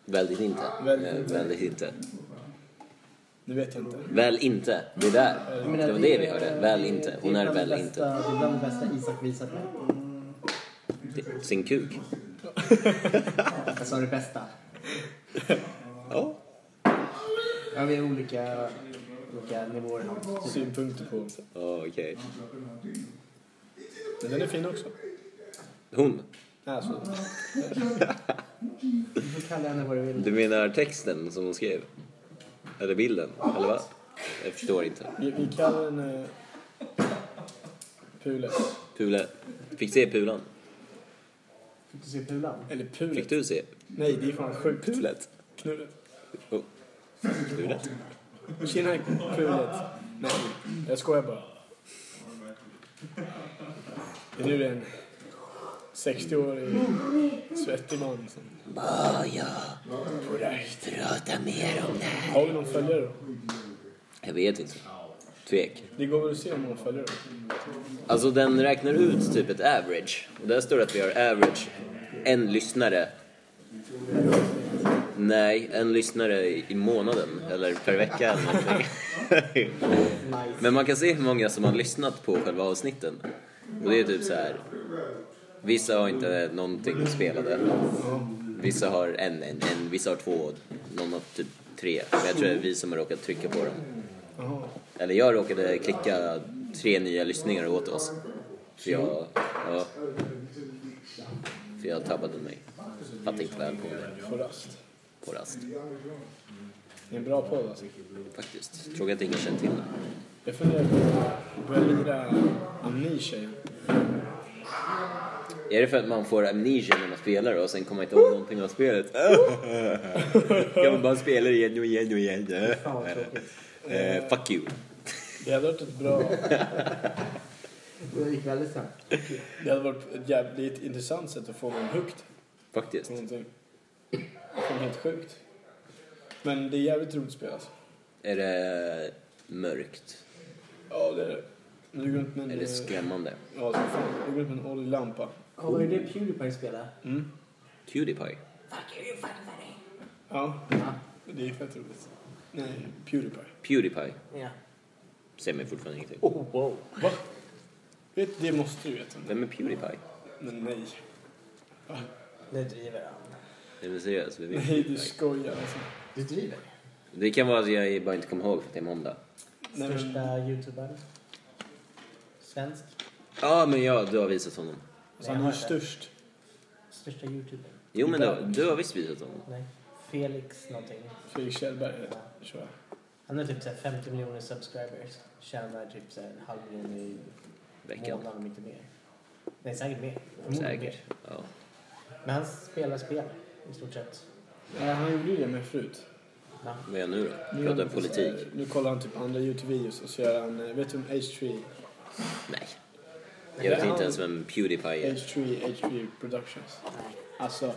S1: Väldigt inte.
S4: Väldigt
S1: Eh,
S4: inte.
S1: Väldigt inte.
S4: Nu vet jag inte.
S1: Väl inte. Det där.
S3: Jag menar,
S1: Det var det vi hörde. Väl inte. Hon
S3: det
S1: är
S3: bland det
S1: väl
S3: bästa-
S1: inte.
S3: Det är bland det bästa Isak visat mig.
S1: Det- Sin kuk.
S3: Jag sa det bästa.
S1: Ja.
S3: Ja, vi har olika, olika nivåer. Typ.
S4: Synpunkter på.
S1: Ja, okej.
S4: Men den är fin också.
S1: Hon.
S4: Alltså,
S3: Du får kalla henne vad du vill.
S1: Du menar texten som hon skrev? Eller bilden? Eller vad? Jag förstår inte.
S4: vi, vi kallar den eh, Pule.
S1: Pule. Fick se pulan?
S3: Fick du se pulan?
S4: Eller
S1: Fick
S4: Pulet.
S1: du se
S4: Nej, det är fan sjukt.
S1: pulet?
S4: Knullet.
S1: Oh. Pulet?
S4: Tjena Pulet. Nej, jag skojar bara. Det är nu det är en 60-årig svettig man liksom. som...
S1: Maja, prata mer om det här.
S4: Har vi någon följare då?
S1: Jag vet inte. Tvek.
S4: Det går väl att se hur många följare
S1: Alltså den räknar ut typ ett average. Och där står det att vi har average en lyssnare. Nej, en lyssnare i månaden eller per vecka eller någonting. Men man kan se hur många som har lyssnat på själva avsnitten. Och det är typ så här. Vissa har inte någonting spelade. Vissa har en, en, en, vissa har två, någon har typ tre. Men jag tror det är vi som har råkat trycka på dem.
S4: Jaha.
S1: Eller jag råkade klicka tre nya lyssningar åt oss. För jag, ja, för jag tabbade mig. Fattade inte väl på det
S4: Får rast.
S1: på rast
S4: Det är en bra podd alltså.
S1: faktiskt. Tråkigt att ingen känner till det.
S4: Jag funderar på att börja lira Amnesia igen.
S1: Är det för att man får amnesia när man spelar och sen kommer man inte ihåg någonting av spelet? [LAUGHS] kan man bara spela det igen och igen och igen?
S3: Fan vad tråkigt.
S1: Eh, fuck you.
S4: Det hade varit ett bra...
S3: Det gick väldigt snabbt.
S4: Det hade varit ett jävligt intressant sätt att få någon högt.
S1: Faktiskt.
S4: på någonting. Det är helt sjukt. Men det är jävligt roligt spel alltså.
S1: Är det mörkt?
S4: Ja, det är det. Men Du går runt med
S1: Är
S4: en... eh,
S1: det skrämmande?
S4: Ja, det är fan. Du går runt med en oljelampa.
S3: Ja, var det det Pewdiepie spelade?
S4: Mm.
S1: Pewdiepie?
S4: Ja. Det är fett roligt. Nej, Pewdiepie.
S1: Pewdiepie?
S3: Ja.
S1: Säger mig fortfarande ingenting.
S3: Oh, wow.
S4: Va? Vet, det måste du veta.
S1: Vem är Pewdiepie?
S4: Men nej.
S3: Nu driver han.
S1: Nej men seriöst, vi vet
S4: Nej, du
S1: inte.
S4: skojar alltså.
S3: Du driver?
S1: Det kan vara att jag bara inte kommer ihåg för att det är måndag.
S4: Nej, men-
S3: Största youtubern? Svensk?
S1: Ja, men ja, du har visat honom.
S4: Alltså, han är ju störst.
S3: Största youtubern?
S1: Jo, men du, har- du har visst visat honom.
S3: Nej. Felix någonting.
S4: Fredrik Kjellberg, tror jag.
S3: Han har typ så här 50 miljoner subscribers. Tjänar typ så här en halv miljon i
S1: Veckan.
S3: månaden om inte mer. Nej, säkert mer. Förmodligen
S1: Säkert. Ja.
S3: mer. Men han spelar spel i stort sett.
S4: Nej, han gjorde ju det med förut.
S3: Ja.
S1: Vad är jag nu då?
S4: Nu gör
S1: Pratar
S4: han så
S1: politik?
S4: här- Nu kollar han typ andra Youtube-videos och så gör han... eh, Vet du vem H3
S1: Nej. Jag vet inte ens vem Pewdiepie är.
S4: H3, H3 Productions. Alltså,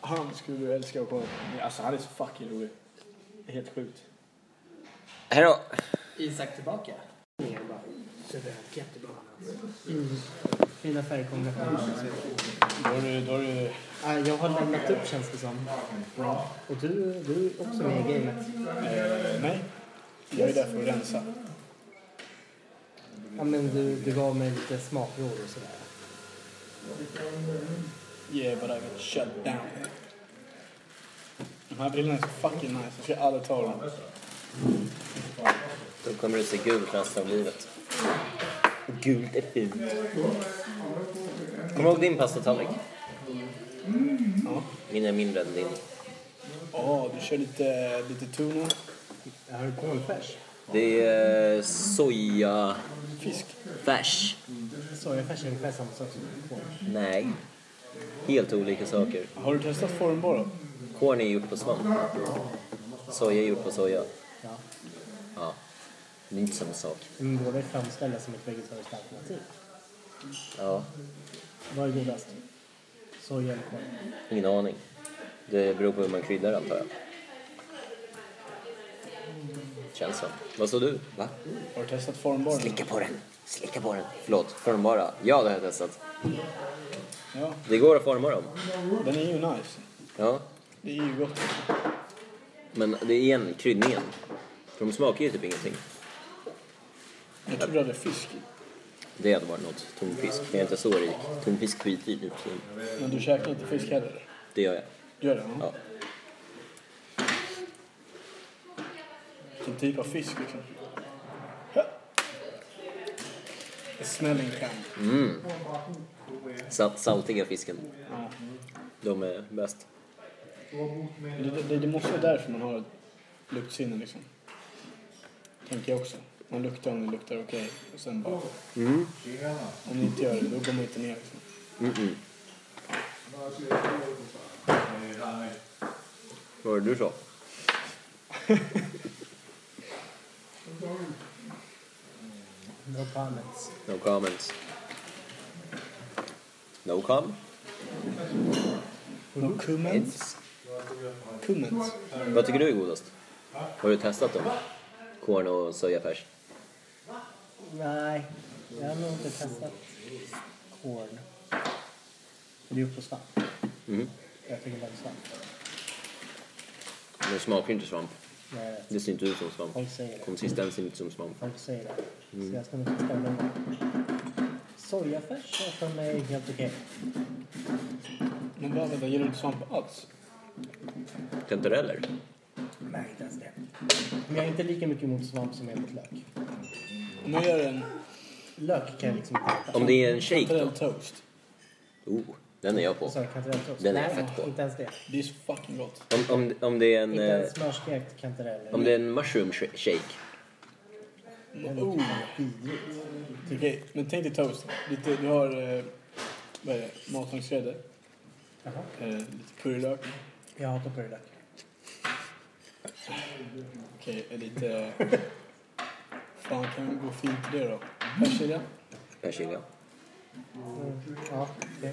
S4: han skulle du älska att kolla på. Nej, Alltså, han är så fucking rolig. Det är helt sjukt.
S1: Här då!
S3: Isak tillbaka. Det är bra. Det är jättebra. Mm. Fina färgkombinationer.
S4: Då har du, då har du
S3: Ah, Jag har lämnat upp känns det som. Och du, du är också med i gamet.
S4: eh, mig. Jag är där för att rensa.
S3: Ja, men du, du gav mig lite smakråd och sådär.
S4: Yeah, but I got shut down. De här brillorna är så fucking nice. Jag ska aldrig ta dem.
S1: Då kommer du se gult resten av livet. Och Gult är fult. Kommer du ihåg din pastatallrik?
S4: Mm. Ja.
S1: Min är mindre än din.
S4: Åh, du kör lite, lite tuna.
S3: Har du kornfärs?
S1: Det är eh, sojafärs.
S4: Fisk.
S3: Sojafärs är ungefär samma sak som korn.
S1: Nej. Helt olika saker.
S4: Har du testat formbar då?
S1: Korn är gjort på svamp. Soja är gjort på soja.
S3: Ja.
S1: Ja. Det är inte samma sak.
S3: Men Mm, båda är framställda som ett vegetariskt alternativ.
S1: Ja.
S3: Vad är godast? Soja eller korn?
S1: Ingen aning. Det beror på hur man kryddar antar jag. Känns som. Vad sa du? Va?
S4: Har du testat formbar?
S1: Slicka på den. Slicka på den. Förlåt. Formbara. Ja, det har jag testat.
S4: Ja,
S1: Det går att forma dem.
S4: den är ju nice.
S1: Ja.
S4: Det är ju gott.
S1: Men det är igen kryddningen. För de smakar ju typ ingenting.
S4: Jag tror du hade fisk.
S1: Det hade varit något. Tonfisk. Men jag är inte så rik. Tonfisk skiter i nu för tiden.
S4: Men du käkar inte fisk heller?
S1: Det gör jag.
S4: Gör det?
S1: Ja.
S4: Vilken typ av fisk liksom. Ja. Det smäller en kamp.
S1: Sa- saltiga fisken. De är bäst.
S4: Det, det, det måste vara därför man har ett luktsinne liksom. Tänker jag också. Man luktar om det luktar okej och sen bara... Om ni inte gör det, då går man inte ner liksom.
S1: Mm-mm. Vad var det du sa?
S3: No comments.
S1: No comments. No comments?
S4: No comments. Comments.
S1: Vad tycker du är godast? Har du testat dem? Korn och sojafärs?
S3: Nej, jag har nog inte testat corn. Men det är gjort på svamp.
S1: Mm.
S3: Jag tycker bara om svamp.
S1: Men det smakar ju inte svamp.
S3: Men jag vet.
S1: Det ser inte ut som svamp.
S3: Eh, Folk säger det.
S1: Konsistensen är inte som svamp.
S3: Folk säger det. Så jag ska nog testa det någon gång. Sojafärs har jag för mig helt okej.
S4: Men bara vänta, gillar du inte svamp alls?
S1: Kantareller?
S3: Nej, inte ens det. Men jag är inte lika mycket emot svamp som jag är emot lök.
S4: Om jag gör en
S3: Lök kan jag liksom inte äta.
S1: Om det är en shake
S4: kantarell toast.
S1: då? Oh, den är jag på.
S3: Sorry, kantarelltoast.
S1: Den är
S3: Nej,
S1: jag fett på.
S3: Inte ens det.
S4: Det är så fucking gott.
S1: Om, om, om det är en...
S3: Inte
S1: Eh,
S3: ens smörstekt kantarell.
S1: om det är en mushroom sh- shake?
S4: Oh.
S3: Vidrigt.
S4: Okej, men tänk dig toast. Lite, du har eh, vad är det? matlagningsgrädde,
S3: Jaha.
S4: eh, lite currylök,
S3: Jag hatar purjolök.
S4: okej, eh, lite... eh, Fan, kan vi gå fint på det då? Persilja,
S1: Persilja?
S3: Mm. Ja, okej.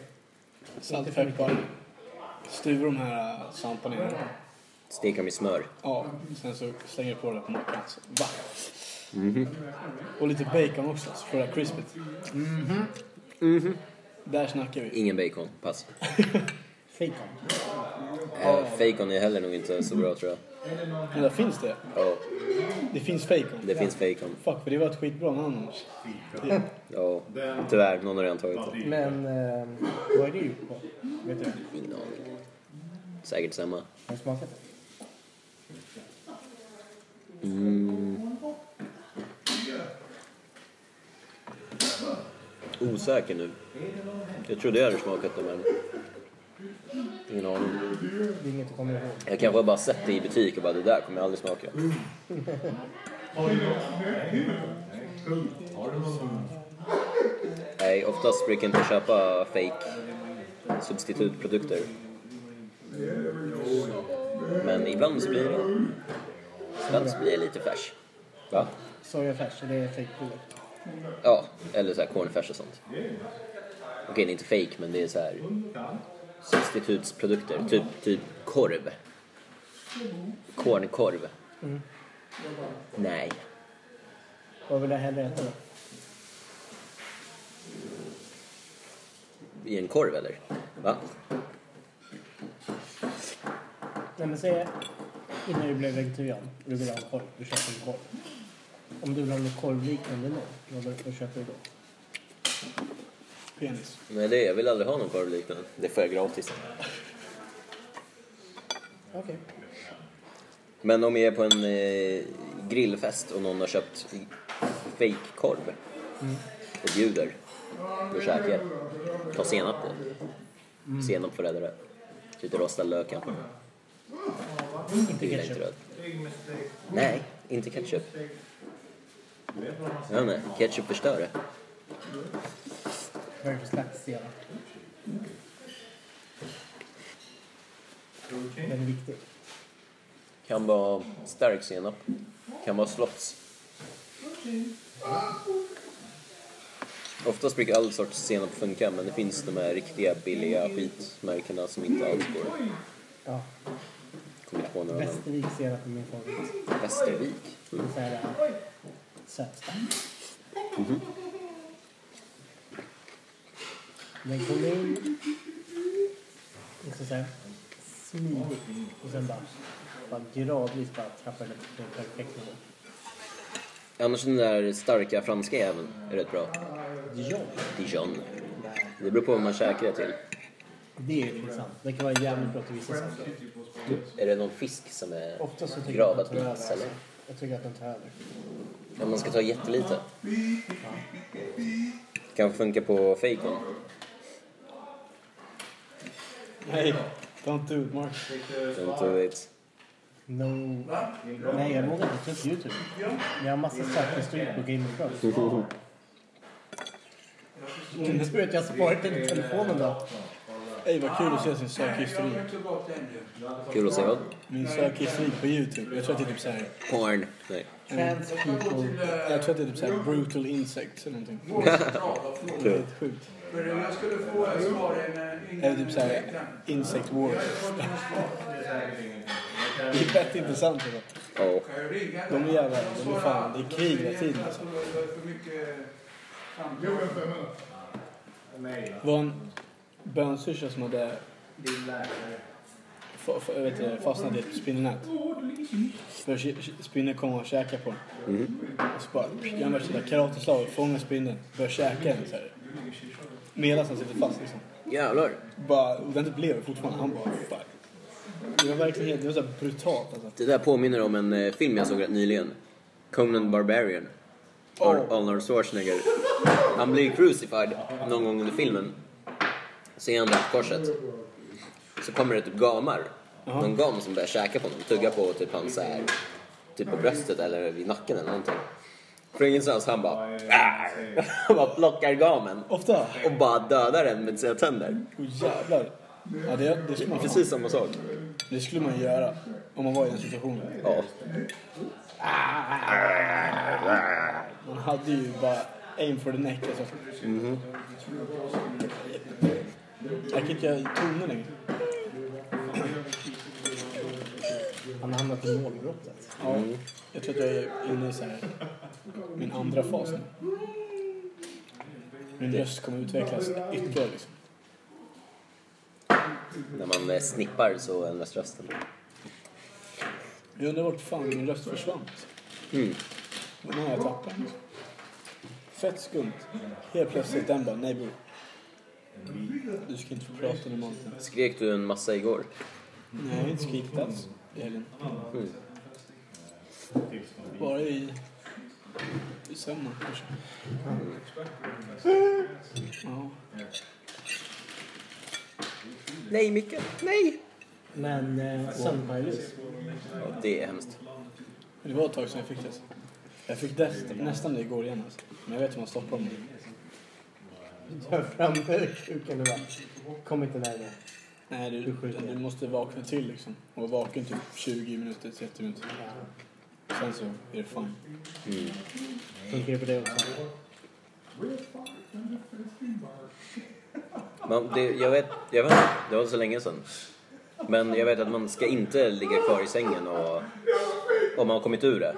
S4: salt,
S3: Inte för
S4: peppar. Stuva de här eh, svamparna i den.
S1: Stek dem i smör.
S4: Ja, sen så slänger du på det på mackan. så, Va?
S3: Mhm.
S4: Och lite bacon också, så får det här crispigt.
S1: Mhm.
S4: Där snackar vi.
S1: Ingen bacon. Pass.
S3: Fikon.
S1: Eh, Fejkon är heller nog inte så bra tror jag.
S4: Men där finns det.
S1: Ja,
S4: Det finns fejkon.
S1: det finns fejkon.
S4: Fuck, för det var ett skitbra namn annars. Det-
S1: Ja, tyvärr. Någon har redan tagit det.
S3: Men eh, vad är det gjort på? Vet du?
S1: Ingen aning. Säkert samma.
S3: Har du smakat det?
S1: Osäker nu. Jag trodde jag hade smakat dem men... Ingen aning.
S3: Det är inget du kommer ihåg.
S1: Jag kanske har bara sett det i butik och bara det där kommer jag aldrig smaka. Nej, oftast brukar jag inte köpa fake substitutprodukter. Men ibland så blir det... Ibland så blir det lite färs. Va?
S3: Sojafärs, är det fejkpurjolök?
S1: Ja, eller så här cornfärs och sånt. Okej, det är inte fake men det är så här substitutsprodukter. Typ, typ korv. Cornkorv. Nej.
S3: Vad vill jag hellre äta då?
S1: I en korv eller? Va?
S3: Nej men säg innan du blev vegetarian och du vill ha en korv. Du köper en korv. Om du vill ha något korvliknande nu, vad vill- vad köper du då?
S4: Penis.
S1: Nej, det, jag vill aldrig ha någon korv liknande. Det får jag gratis.
S3: Okej.
S1: Men om jag är på en eh, grillfest och någon har köpt fejkkorv och bjuder, då käkar jag. Ta senap på. Senap för att rädda det. Lite rostad lök kanske.
S3: Inte
S1: Det gillar inte
S3: ketchup.
S1: röd. Nej, inte ketchup. Jag vet inte, ketchup förstör det.
S3: Vad är det för slags senap? Den är viktig.
S1: Kan vara stark senap. Kan vara slotts. Oftast brukar all sorts senap funka men det finns de här riktiga billiga skitmärkena som inte alls går.
S3: Ja.
S1: Kommer inte på några namn.
S3: Västervik senap är min favorit.
S1: Västervik? Mm.
S3: Så här äh, sötstark. Mhm. Den kommer in. Liksom såhär smidigt. Och sen bara, bara gradvis bara trappar den upp till en perfekt nivå.
S1: Annars den där starka franska även är rätt bra.
S3: Ja,
S1: Dijon. Det beror på vad man käkar det till.
S3: det är ju intressant. Det kan vara jävligt bra till vissa saker.
S1: Är det någon fisk som är
S3: Ofta så tycker jag att
S1: gravad
S3: den tar över.
S1: glass
S3: Alltså.
S1: eller?
S3: Jag tycker att den tar över.
S1: Ja, man ska ta jättelite. Kan funka på fejkon.
S4: Nej, don't do it Mark.
S1: Don't do it.
S3: No. Nej, jag vågar inte ta upp Youtube. Jag har massa sökhistorik på Game of Thrones. Mm, Nu tror jag att jag har sparat den i telefonen då.
S4: Ey vad kul att se sin sökhistorik.
S1: Kul att se vad.
S4: Min sökhistorik på Youtube. Jag tror att det är typ såhär...
S1: Porn. Nej.
S3: Trans people.
S7: eh,
S4: Jag tror att det är typ såhär brutal insects eller någonting. Det är
S1: Kul.
S4: helt sjukt.
S8: Jag skulle få
S7: eh,
S8: ett svar i en...
S4: Eller typ såhär insect war. Det är fett intressant. Alltså.
S1: Ja.
S4: De är jävla... De är fan, det är krig hela tiden. Alltså.
S6: Nej,
S4: Det var en bönsyrsa som hade
S6: din läkare.
S4: fa- fa- jag vet inte, fastnat i ett spindelnät. För ki- ki- spindeln kom och käkade på den. Och så bara pff, gör han värsta där karateslaget, fångar spindeln, börjar käka den så här. Medan han sitter fast liksom.
S1: Jävlar.
S4: Bara, och den typ lever fortfarande. Han bara fuck. Det var verkligen helt, det var så här brutalt alltså.
S1: Det där påminner om en eh, film jag såg rätt nyligen. Conan Barbarian. Ar- Arnold Schwarzenegger. Han blir crucified någon gång under filmen. Så är han där på korset. Så kommer det typ gamar. Någon gam som börjar käka på honom. Tugga på typ hans så här, Typ på bröstet eller vid nacken eller någonting. Från ingenstans han bara... "Arr!" [LAUGHS] Han bara plockar gamen.
S4: Ofta.
S1: Och bara dödar den med sina tänder.
S4: Åh jävlar. Ja, det, det, skulle man,
S1: Precis samma sak.
S4: det skulle man göra om man var i den situationen.
S1: Ja.
S4: Man hade ju bara aim for the neck alltså. Jag kan inte göra toner längre.
S3: Han har hamnat i målbrottet.
S4: Ja, jag tror att jag är inne i så här, min andra fas nu. Min röst kommer utvecklas ytterligare liksom.
S1: När man eh, snippar så ändras rösten.
S4: Jag undrar vart fan min röst försvann.
S1: Mm.
S4: Den har jag tappat. Fett skumt. Helt plötsligt den bara, nej bror. Du ska inte få prata nu Monten.
S1: Skrek du en massa igår?
S4: Nej, jag har inte skrikit alls i helgen.
S1: Mm.
S4: Bara i, i sömnen kanske. Ja.
S1: Nej, Micke! Nej!
S3: Men eh, sömnparalys.
S1: Ja, det är hemskt.
S4: Men Det var ett tag sedan jag fick det. alltså. Jag fick dest, nästan det igår igen. Alltså. Men jag vet hur man stoppar mig.
S3: Dra fram kuken och bara, kom inte närmare.
S4: Nej, du,
S3: Du skjuter.
S4: du måste vakna till liksom. Och vara vaken typ 20 minuter, 30 minuter.
S3: Ja.
S4: Sen så är det fine.
S1: Mm.
S3: Funkar det på det också?
S1: Man, det, jag vet, jag vet inte, det var så länge sedan. Men jag vet att man ska inte ligga kvar i sängen och, om man har kommit ur det.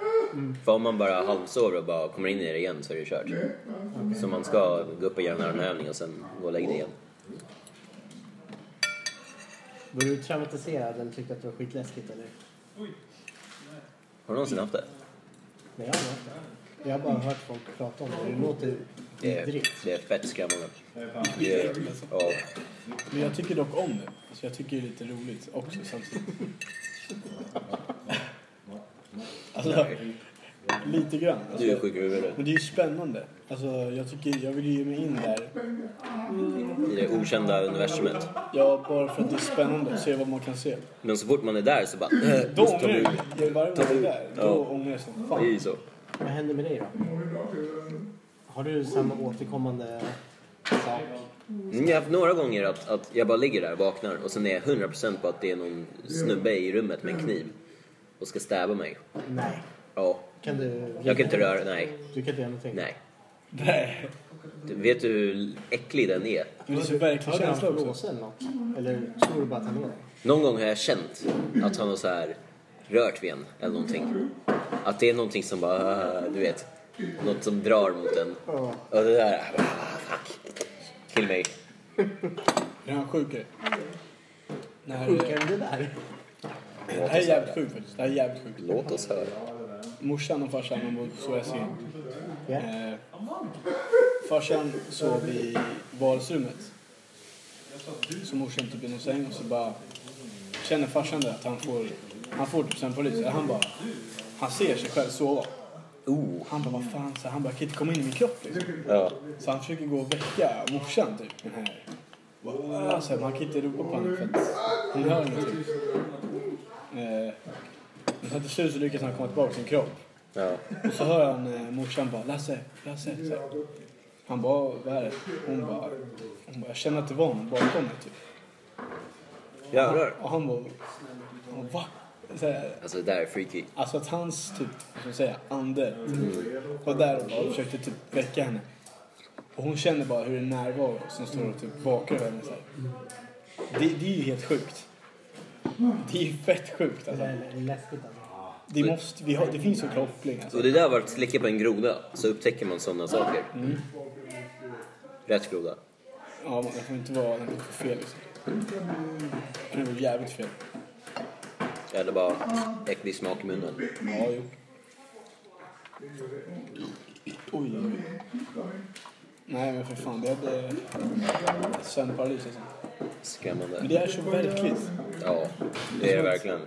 S1: För om man bara halvsover och bara kommer in i det igen så är det kört. Så man ska gå upp och göra en armhävning och sen gå och lägga dig igen.
S3: Var du traumatiserad eller tyckte att det var skitläskigt eller?
S1: Har du någonsin haft det?
S3: Nej, jag har inte haft det. Jag har bara hört folk prata om det. Det låter
S1: Det är,
S3: vidrigt.
S1: det är fett skrämmande. Det är, ja,
S4: Men jag tycker dock om det. Så jag tycker det är lite roligt också samtidigt. Alltså, lite grann. Alltså,
S1: du är sjuk i huvudet.
S4: men det är ju spännande. Alltså, jag, tycker, jag vill ju ge mig in där.
S1: I det okända universumet.
S4: Ja, bara för att det är spännande. Se vad man kan se.
S1: Men så fort man är där så bara... [CLEARS THROAT]
S4: Då
S1: måste
S4: ångrar
S1: man
S4: jag
S1: ut.
S4: mig. Jag- Varje gång jag är där,
S1: Ja.
S4: då ångrar jag som
S1: Det är
S4: fan.
S1: ju så.
S3: Vad händer med dig då? Har du samma återkommande sak?
S1: Mm, Jag har haft några gånger att, att jag bara ligger där och vaknar och sen är jag 100% på att det är någon snubbe i rummet med en kniv och ska stäva mig.
S3: Nej.
S1: Ja,
S3: Kan du...
S1: jag kan inte röra, nej,
S3: Du kan inte göra någonting?
S1: nej.
S4: Nej.
S1: Du, vet du hur äcklig den är?
S4: Men det är så
S3: Har
S4: verklig
S3: du hans
S4: känsla också.
S3: blåsa eller något? Eller tror du bara att han är där?
S1: Någon gång har jag känt att han har så här rört vid en eller någonting. Att det är någonting som bara, äh, du vet, något som drar mot en.
S3: Ja.
S1: Och det där, äh, fuck. Till mig.
S4: Är han sjukare? Nej, det
S3: Funkar det där?
S4: det här är jävligt sjukt faktiskt. Det här är jävligt sjukt.
S1: Låt oss höra.
S4: Morsan och farsan de bodde så jag ser.
S3: Ja.
S4: Eh, farsan sov i vardagsrummet. Så morsan typ i någon säng och så bara känner farsan där att han får, han får typ sömnparalys. Han bara, han ser sig själv sova.
S1: Oh,
S4: Han bara, vad fan, så här, han bara, jag kan inte komma in i min kropp liksom.
S1: ja.
S4: Så han försöker gå och väcka morsan typ. Den här. Bara, "Ah", Så här, man kan inte ropa på henne för att hon hör honom typ. Eh, men sen till slut så lyckas han komma tillbaka till sin kropp.
S1: ja.
S4: Och så hör han eh, morsan bara Lasse, Lasse. Så här. Han bara, vad är det? Hon bara, hon bara, jag känner att det var någon bakom mig typ.
S1: Jävlar.
S4: Och han bara, han bara va? Så här,
S1: Alltså det där är freaky.
S4: alltså att hans typ, vad ska jag säga, ande typ, var där och bara försökte typ väcka henne. Och hon känner bara hur det är närvaro som står och typ vakar över henne så här. Det, det är ju helt sjukt. Det är ju fett sjukt
S3: Det
S4: alltså.
S3: är läskigt alltså.
S4: Det, måste, vi har, det finns ju en koppling alltså.
S1: Och det där var att slicka på en groda, så upptäcker man sådana saker. Rätt groda.
S4: Ja, man får inte vara den får fel liksom. Det var jävligt fel.
S1: Eller bara äcklig smak i munnen.
S4: Ja, jo. Oj, oj. Nej men för fan, det hade sömnparalys alltså. Men
S1: Skrämmande.
S4: det är så verkligt.
S1: Ja, det är det verkligen.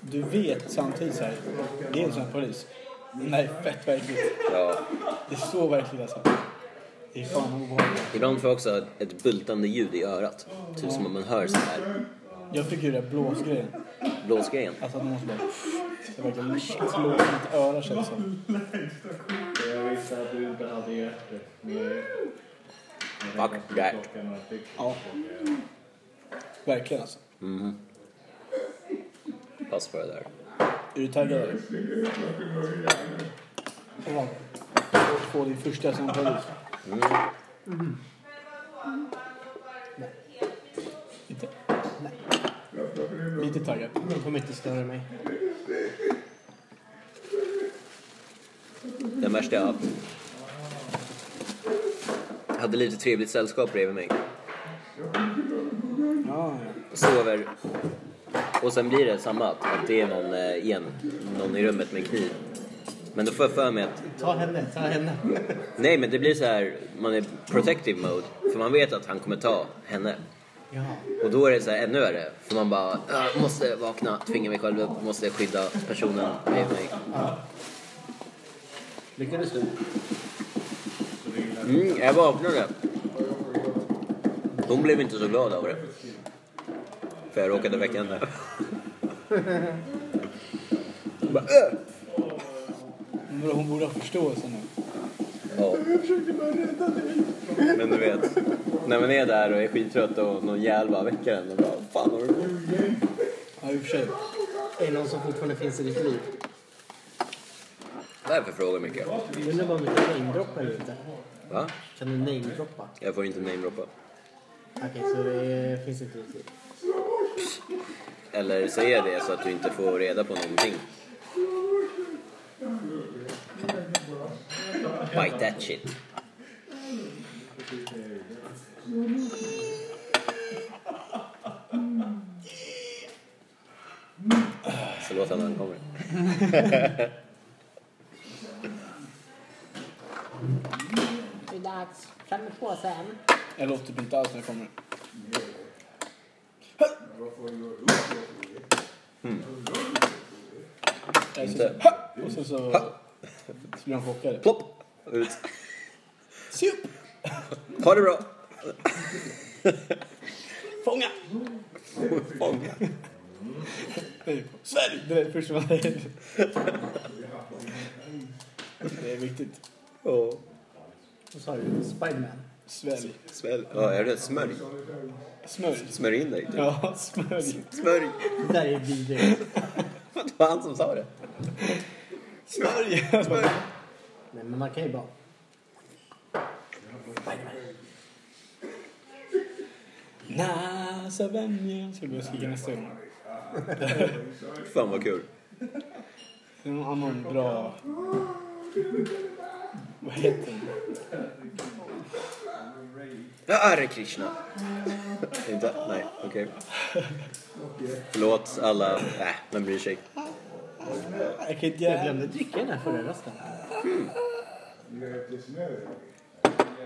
S4: Du vet samtidigt så här, det är en sömnparalys. Men det här är fett verkligt.
S1: Ja.
S4: Det är så verkligt alltså. Det är fan obehagligt.
S1: Ibland får jag också ett bultande ljud i örat. Typ som om man hör så här.
S4: Jag fick ju den där blåsgrejen.
S1: Blåsgrejen.
S4: Alltså att man måste bara... Det verkar slå i mitt öra känns det som.
S6: Jag visste att du inte hade hjärtat.
S1: Fuck that.
S4: Ja. Verkligen alltså.
S1: Pass på det där.
S4: Är du taggad?
S3: Och vad-
S4: På din första sömnparalys? Inte? Lite taggad.
S3: De kommer inte störa mig.
S1: Den värsta jag haft. Jag hade lite trevligt sällskap bredvid mig.
S4: Ja, ja.
S1: Sover. Och sen blir det samma. Att det är någon eh, igen. Någon i rummet med en kniv. Men då får jag för mig att
S3: Ta henne, ta henne.
S1: Nej, men det blir så här, man är protective mode. För man vet att han kommer ta henne.
S3: Ja.
S1: Och då är det så här ännu värre. För man bara, "Ah, måste vakna, tvinga mig själv upp, måste skydda personen bredvid mig.
S2: Lyckades du?
S1: Mm, jag vaknade. Hon blev inte så glad av det. För jag råkade väcka henne. Hon bara, "Äh."
S4: Men vadå, Hon borde ha förståelse nu.
S1: Ja. Men du vet, när man är där och är skittrött och någon jävel bara väcker en och bara, fan har du gjort?"
S4: Ja, i och för sig.
S3: Är det någon som fortfarande finns i ditt liv?
S1: Vad är det för frågor, Micke?
S3: Jag undrar bara om du kan namedroppa eller inte.
S1: Va?
S3: Kan du namedroppa?
S1: Jag får inte namedroppa.
S3: Okej, så det är, finns inte i ditt liv.
S1: Eller säga det så att du inte får reda på någonting. Bite that shit. Så låt han när han kommer.
S8: Det är dags. Fram med påsen.
S4: Jag låter typ inte alls när jag kommer. Jag
S1: Inte.
S4: så, ha! Och sen så... Så blir han chockad.
S1: Plopp! Ut.
S4: Se upp!
S1: Ha det bra!
S4: Fånga!
S1: Fånga.
S4: Svälj! Det är det första man säger. Det är viktigt.
S1: Åh,
S3: Vad sa du? Spiderman?
S4: Svälj.
S1: Svälj. Ja, är det smörj?
S4: Smörj.
S1: Smörj in dig. typ.
S4: Ja, smörj.
S1: Smörj!
S3: Det där är vidrigt.
S1: Det var han som sa det.
S4: Smörj!
S3: Nej, men man kan ju bara...
S4: Nasa vänja. Ska vi börja skrika nästa gång?
S1: Fan vad kul.
S4: Det är någon annan bra... Vad heter den?
S1: Hare Krishna. Inte? Nej, okej. Förlåt alla. Nej, men bryr sig.
S4: Jag kan
S3: Jag
S4: inte...
S3: glömde dricka den här förra rasten.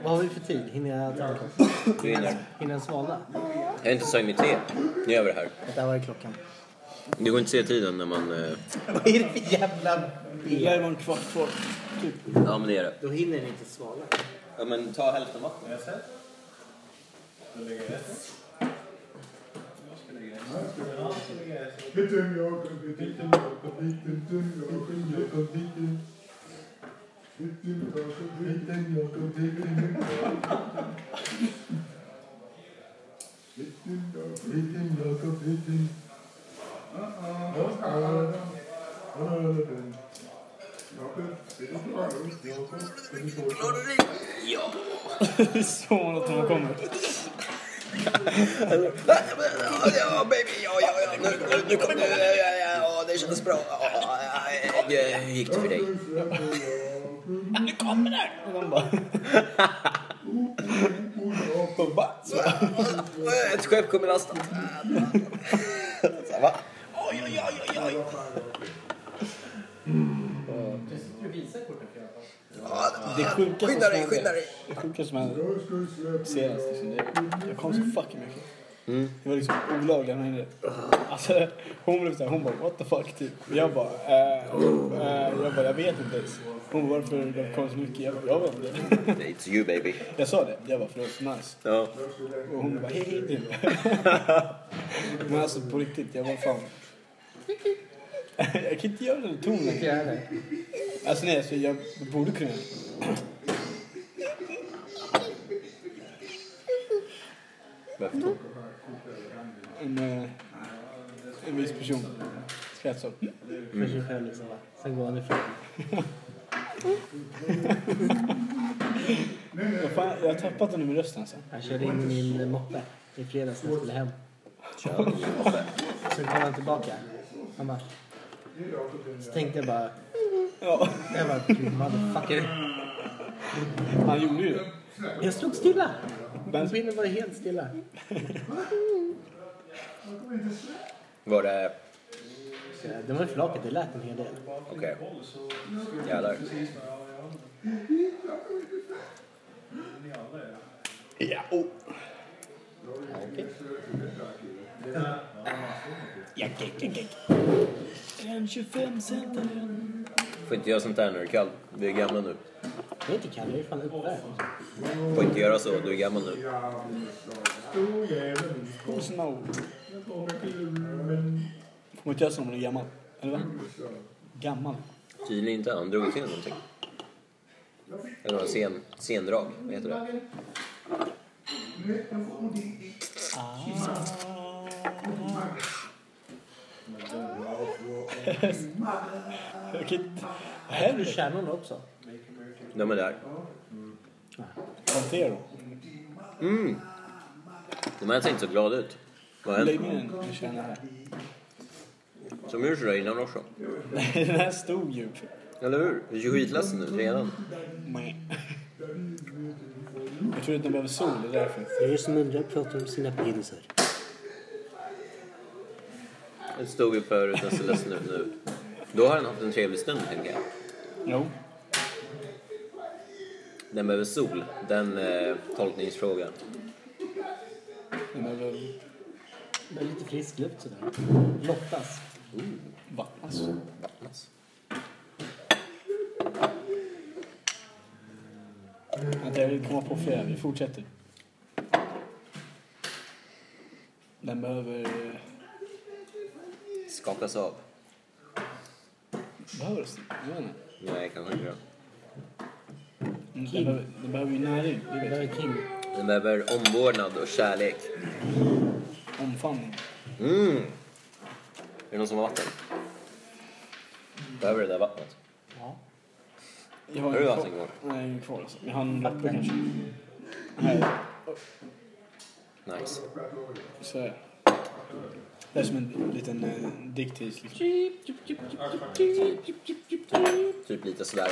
S3: Vad har vi för tid? Hinner jag tänka?
S1: Du hinner.
S3: Hinner jag svalna?
S1: Jag har inte sökt mitt te. Nu gör vi det här.
S3: Där var det klockan. [LAUGHS]
S1: Det går inte att se tiden när man... eh,
S3: Vad är det för jävla
S4: Det
S3: B?
S4: är en kvart kvar. Typ.
S1: Ja, men det är det.
S3: Då hinner ni inte svalna.
S1: Ja, men ta hälften vatten.
S5: Liten Jakob, liten Jakob, liten Jakob, liten Jakob, liten Liten Jakob, liten Jakob, liten Jakob. Liten Jakob, liten Jakob, liten
S4: Det är så långt när man kommer.
S1: Ja, baby, ja, ja, ja, nu, nu, nu kommer det. Ja, ja, ja, ja, det känns bra. Ja, ja, ja, ja. Hur gick det för dig? Ett skepp kommer lastat. Så, Va? Oj, oj, oj, oj, oj.
S4: Det sjukaste
S1: Skynda dig,
S4: som
S1: skynda
S4: händer-
S1: dig.
S4: Det sjukaste som hände senast liksom, det, jag kom så fucking mycket. Det var liksom olagliga mängder. Alltså, hon blev såhär, hon bara what the fuck typ. Jag bara, eh, eh, jag bara jag vet inte ens. Hon bara varför det kom så mycket? Jag bara, jag vet inte.
S1: It's you baby.
S4: Jag sa det, jag bara för det var så nice.
S1: Ja.
S4: Och hon bara hej hej [LAUGHS] typ. Men alltså på riktigt, jag bara fan. Jag kan inte göra den tonen. Alltså nej, alltså, jag borde kunna.
S1: Varför då?
S4: En, eh, en viss person. Skratt så.
S3: För sig själv liksom va. Sen går han ifrån.
S4: Jag, fan, jag har tappat den med rösten alltså.
S3: Han körde in min moppe i fredags när jag skulle hem.
S1: Kör.
S3: Sen kom han tillbaka. Han bara... Så tänkte jag bara...
S4: Ja,
S3: Jag bara, "Du motherfucker.
S4: han gjorde ju det.
S3: Jag stod stilla.
S4: Men-
S3: Binnen var helt stilla.
S1: Var det...
S3: Så Den var flaket, det lät en hel del.
S1: Okej. Jävlar.
S4: Ja, oh. Ja, kick, kick, kick. En 25 cent
S1: Får inte göra sånt där när du är kall. Du är gammal nu.
S3: Jag är inte kall, jag är fan uppvärmd.
S1: Får inte göra så, du är gammal nu.
S4: Tusen år. Får man inte göra så om man är gammal? Eller va? Gammal?
S1: Tydligen inte, han drog till någonting. Eller några scen, scendrag, vad heter det?
S4: Jag kan inte
S3: Här är kärnan också.
S1: De är där.
S4: hantera dem.
S1: De här ser inte så glada ut. Vad har
S4: Lägg
S1: hänt?
S4: ner den och kör den här.
S1: Som ur sådär innan också.
S4: Nej, den här stod djup.
S1: Eller hur? Du är ju skitledsen ut redan.
S4: Nej. Jag tror att den behöver sol, det är därför.
S3: Det är som undrar pratar om sina pilser.
S1: Den stod ju förut, den ser ledsen ut nu. Då har den haft en trevlig stund, tänker jag.
S4: Jo.
S1: Den behöver sol, den eh, tolkningsfrågan.
S4: Den behöver
S3: Det är lite frisk luft sådär. Lottas.
S4: vattnas. Vänta, jag vill komma på fler. Vi fortsätter. Den behöver...
S1: Skakas av.
S4: Behövs den? Jag vet inte.
S1: Nej, kanske inte.
S4: Den behöver, den behöver ju näring. Det
S3: Det
S4: vet
S3: där
S4: jag.
S3: är Kim.
S1: Den behöver omvårdnad och kärlek.
S4: Omfamning.
S1: Mm. Är det någon som har vatten? Behöver det där vattnet?
S4: Jag har,
S1: Har du
S4: ingen
S1: haft
S4: kvar.
S1: en
S4: Nej, ingen kvar alltså. Jag har en lappe kanske. Nej,
S1: Nice.
S4: så är det. Det är som en liten eh, diktvis liksom.
S1: Typ lite sådär.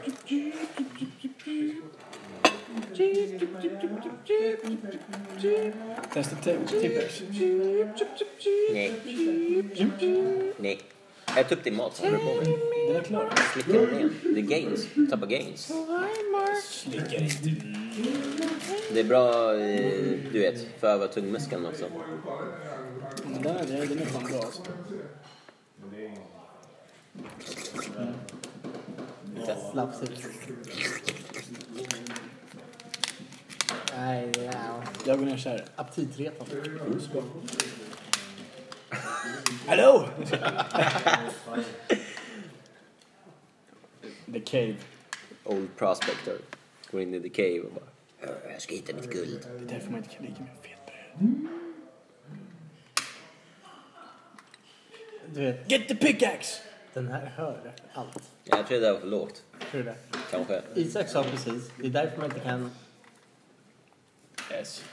S1: va?
S4: Testa te- tippers.
S1: Nej, nej. Ät upp din mat, vad håller du på med?
S4: Den är klar.
S1: Slicka ner. Det är gains. Tappa gains.
S4: Slickar inte.
S1: Det är bra, eh, du vet, för att öva tungmuskeln också.
S4: Men den är, den är fan bra alltså.
S3: Slapsigt. Nej, det är
S4: Jag går ner och kör.
S3: aptitretande.
S4: Hallå! The Cave.
S1: Old prospector. Går in i the cave och bara... "Hör, Jag ska hitta mitt guld.
S4: Det är därför man inte kan lika med fetbröd.
S3: Du vet,
S4: Get the pickaxe!
S3: den här hör allt.
S1: Ja, Jag tror det där var för lågt.
S3: Tror du det?
S1: Kanske.
S3: Isak sa precis, det är därför man inte kan
S4: Yes.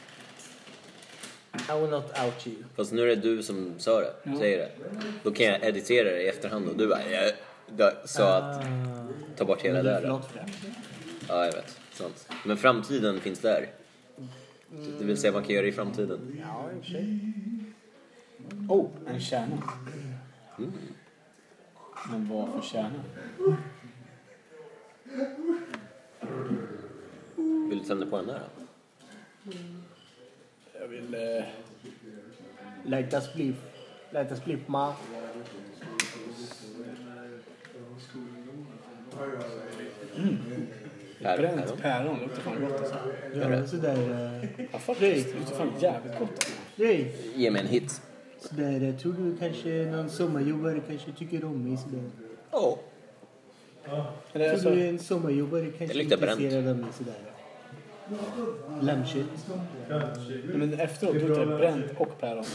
S3: I will not out you.
S1: Fast nu är det du som sa det, säger det. Då kan jag editera det i efterhand och du bara, jag jag sa att
S3: Ah,
S1: ta bort hela
S3: men du är
S1: där. då."
S3: förlåt för det.
S1: Ja, jag vet. Sant. Men framtiden finns där. Det vill säga man kan göra det i framtiden.
S3: Ja, i och för sig.
S4: Oh, en kärna. Men vad för kärna?
S1: Vill du tända på den där då?
S4: Jag vill... Eh,
S3: Light us bliff. Light us bliff ma.
S1: Päron?
S4: bränt
S1: päron?
S4: päron luktar fan gott alltså.
S3: Gör det sådär... eh,
S4: Ja, faktiskt. Det luktar fan jävligt gott alltså.
S3: Nej.
S1: Ge mig en hit.
S3: Sådär, eh, tror du kanske någon sommarjobbare kanske tycker om mig sådär?
S1: Åh,
S4: Eller
S3: Tror du
S4: alltså,
S3: en sommarjobbare kanske
S1: Det luktar
S3: är
S1: bränt.
S3: intresserad av mig sådär? Lammkött.
S4: nej, men efteråt luktar det bränt och päron.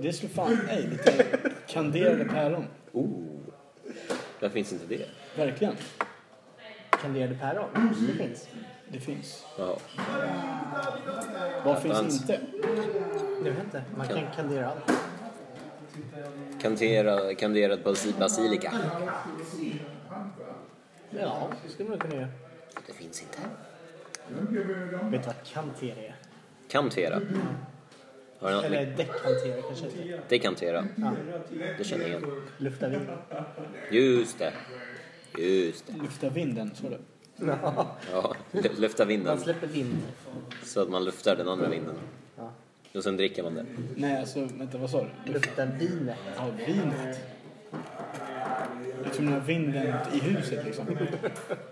S4: Det skulle fan... Nej, lite kanderade päron.
S1: oh. Varför finns inte det?
S4: Verkligen.
S3: Kanderade päron. Det finns.
S4: Det finns.
S1: Jaha.
S4: Vad finns
S1: fanns.
S4: inte?
S3: Jag vet inte. Man kan kandera allt.
S1: Kantera, kanderad basi- basilika.
S3: Ja, det skulle man kunna göra.
S1: Det finns inte.
S3: Vet du vad kantera är?
S1: Kantera. Har du något med
S3: Eller däckhantera kanske heter.
S1: det? Kantera.
S3: Ja,
S1: Det känner jag igen.
S3: lufta vind.
S1: Just det. Just det.
S4: Lufta vinden, sa du.
S3: Ja,
S1: Ja, lu- lufta vinden
S3: Man släpper vind.
S1: så att man luftar den andra vinden.
S3: Ja.
S1: Och sen dricker man det.
S4: Nej, alltså vänta, vad sa du?
S3: Lufta vinet.
S4: Ja, vinet. Jag tror den här vinden i huset liksom.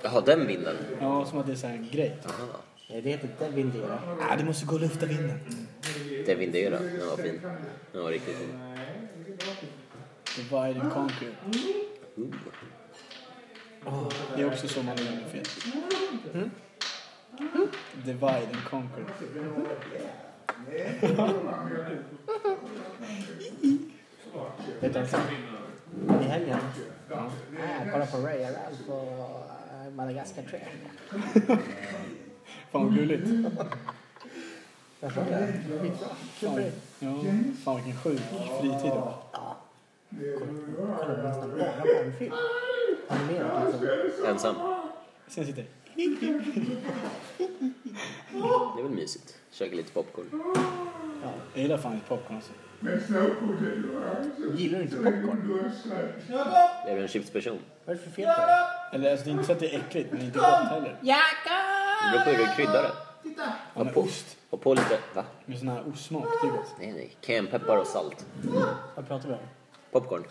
S1: Jaha, den vinden.
S4: Ja, som att det är så här en grej.
S1: Aha.
S3: Nej, det heter inte vindera.
S4: Ah, det måste gå och lufta vinden.
S1: Det vindera. Den var fin. Den var riktigt fin.
S4: Divide and conquer.
S1: Ooh.
S4: Det är också så man gör fel. Divide and conquer.
S3: Vet du vad jag sa? alltså- I helgen. Ah, kolla på Ray Ralph och eh, Madagaskar 3.
S4: Fan vad gulligt.
S3: Jag såg det. Skitbra. Kul för
S4: Fan,
S3: dig.
S4: ja, fan vilken sjuk fritid det var.
S3: Ja. Kollade nästan bara barnfilm. Animerat liksom.
S1: Ensam.
S4: Sen sitter
S1: Det är väl mysigt. Käka lite popcorn.
S4: jag gillar fan inte popcorn alltså.
S3: Gillar du inte popcorn?
S1: Är du en chipsperson?
S3: Vad är det för fel på det?
S4: Eller alltså det är inte så att det är äckligt men det är inte gott heller.
S1: Det beror på hur du kryddar det.
S4: Ja, med ost.
S1: Ha på lite... Va?
S4: Med sån här ostsmak, det är gott.
S1: Nej, nej. Cayennepeppar och salt.
S3: Vad pratar vi om?
S1: Popcorn.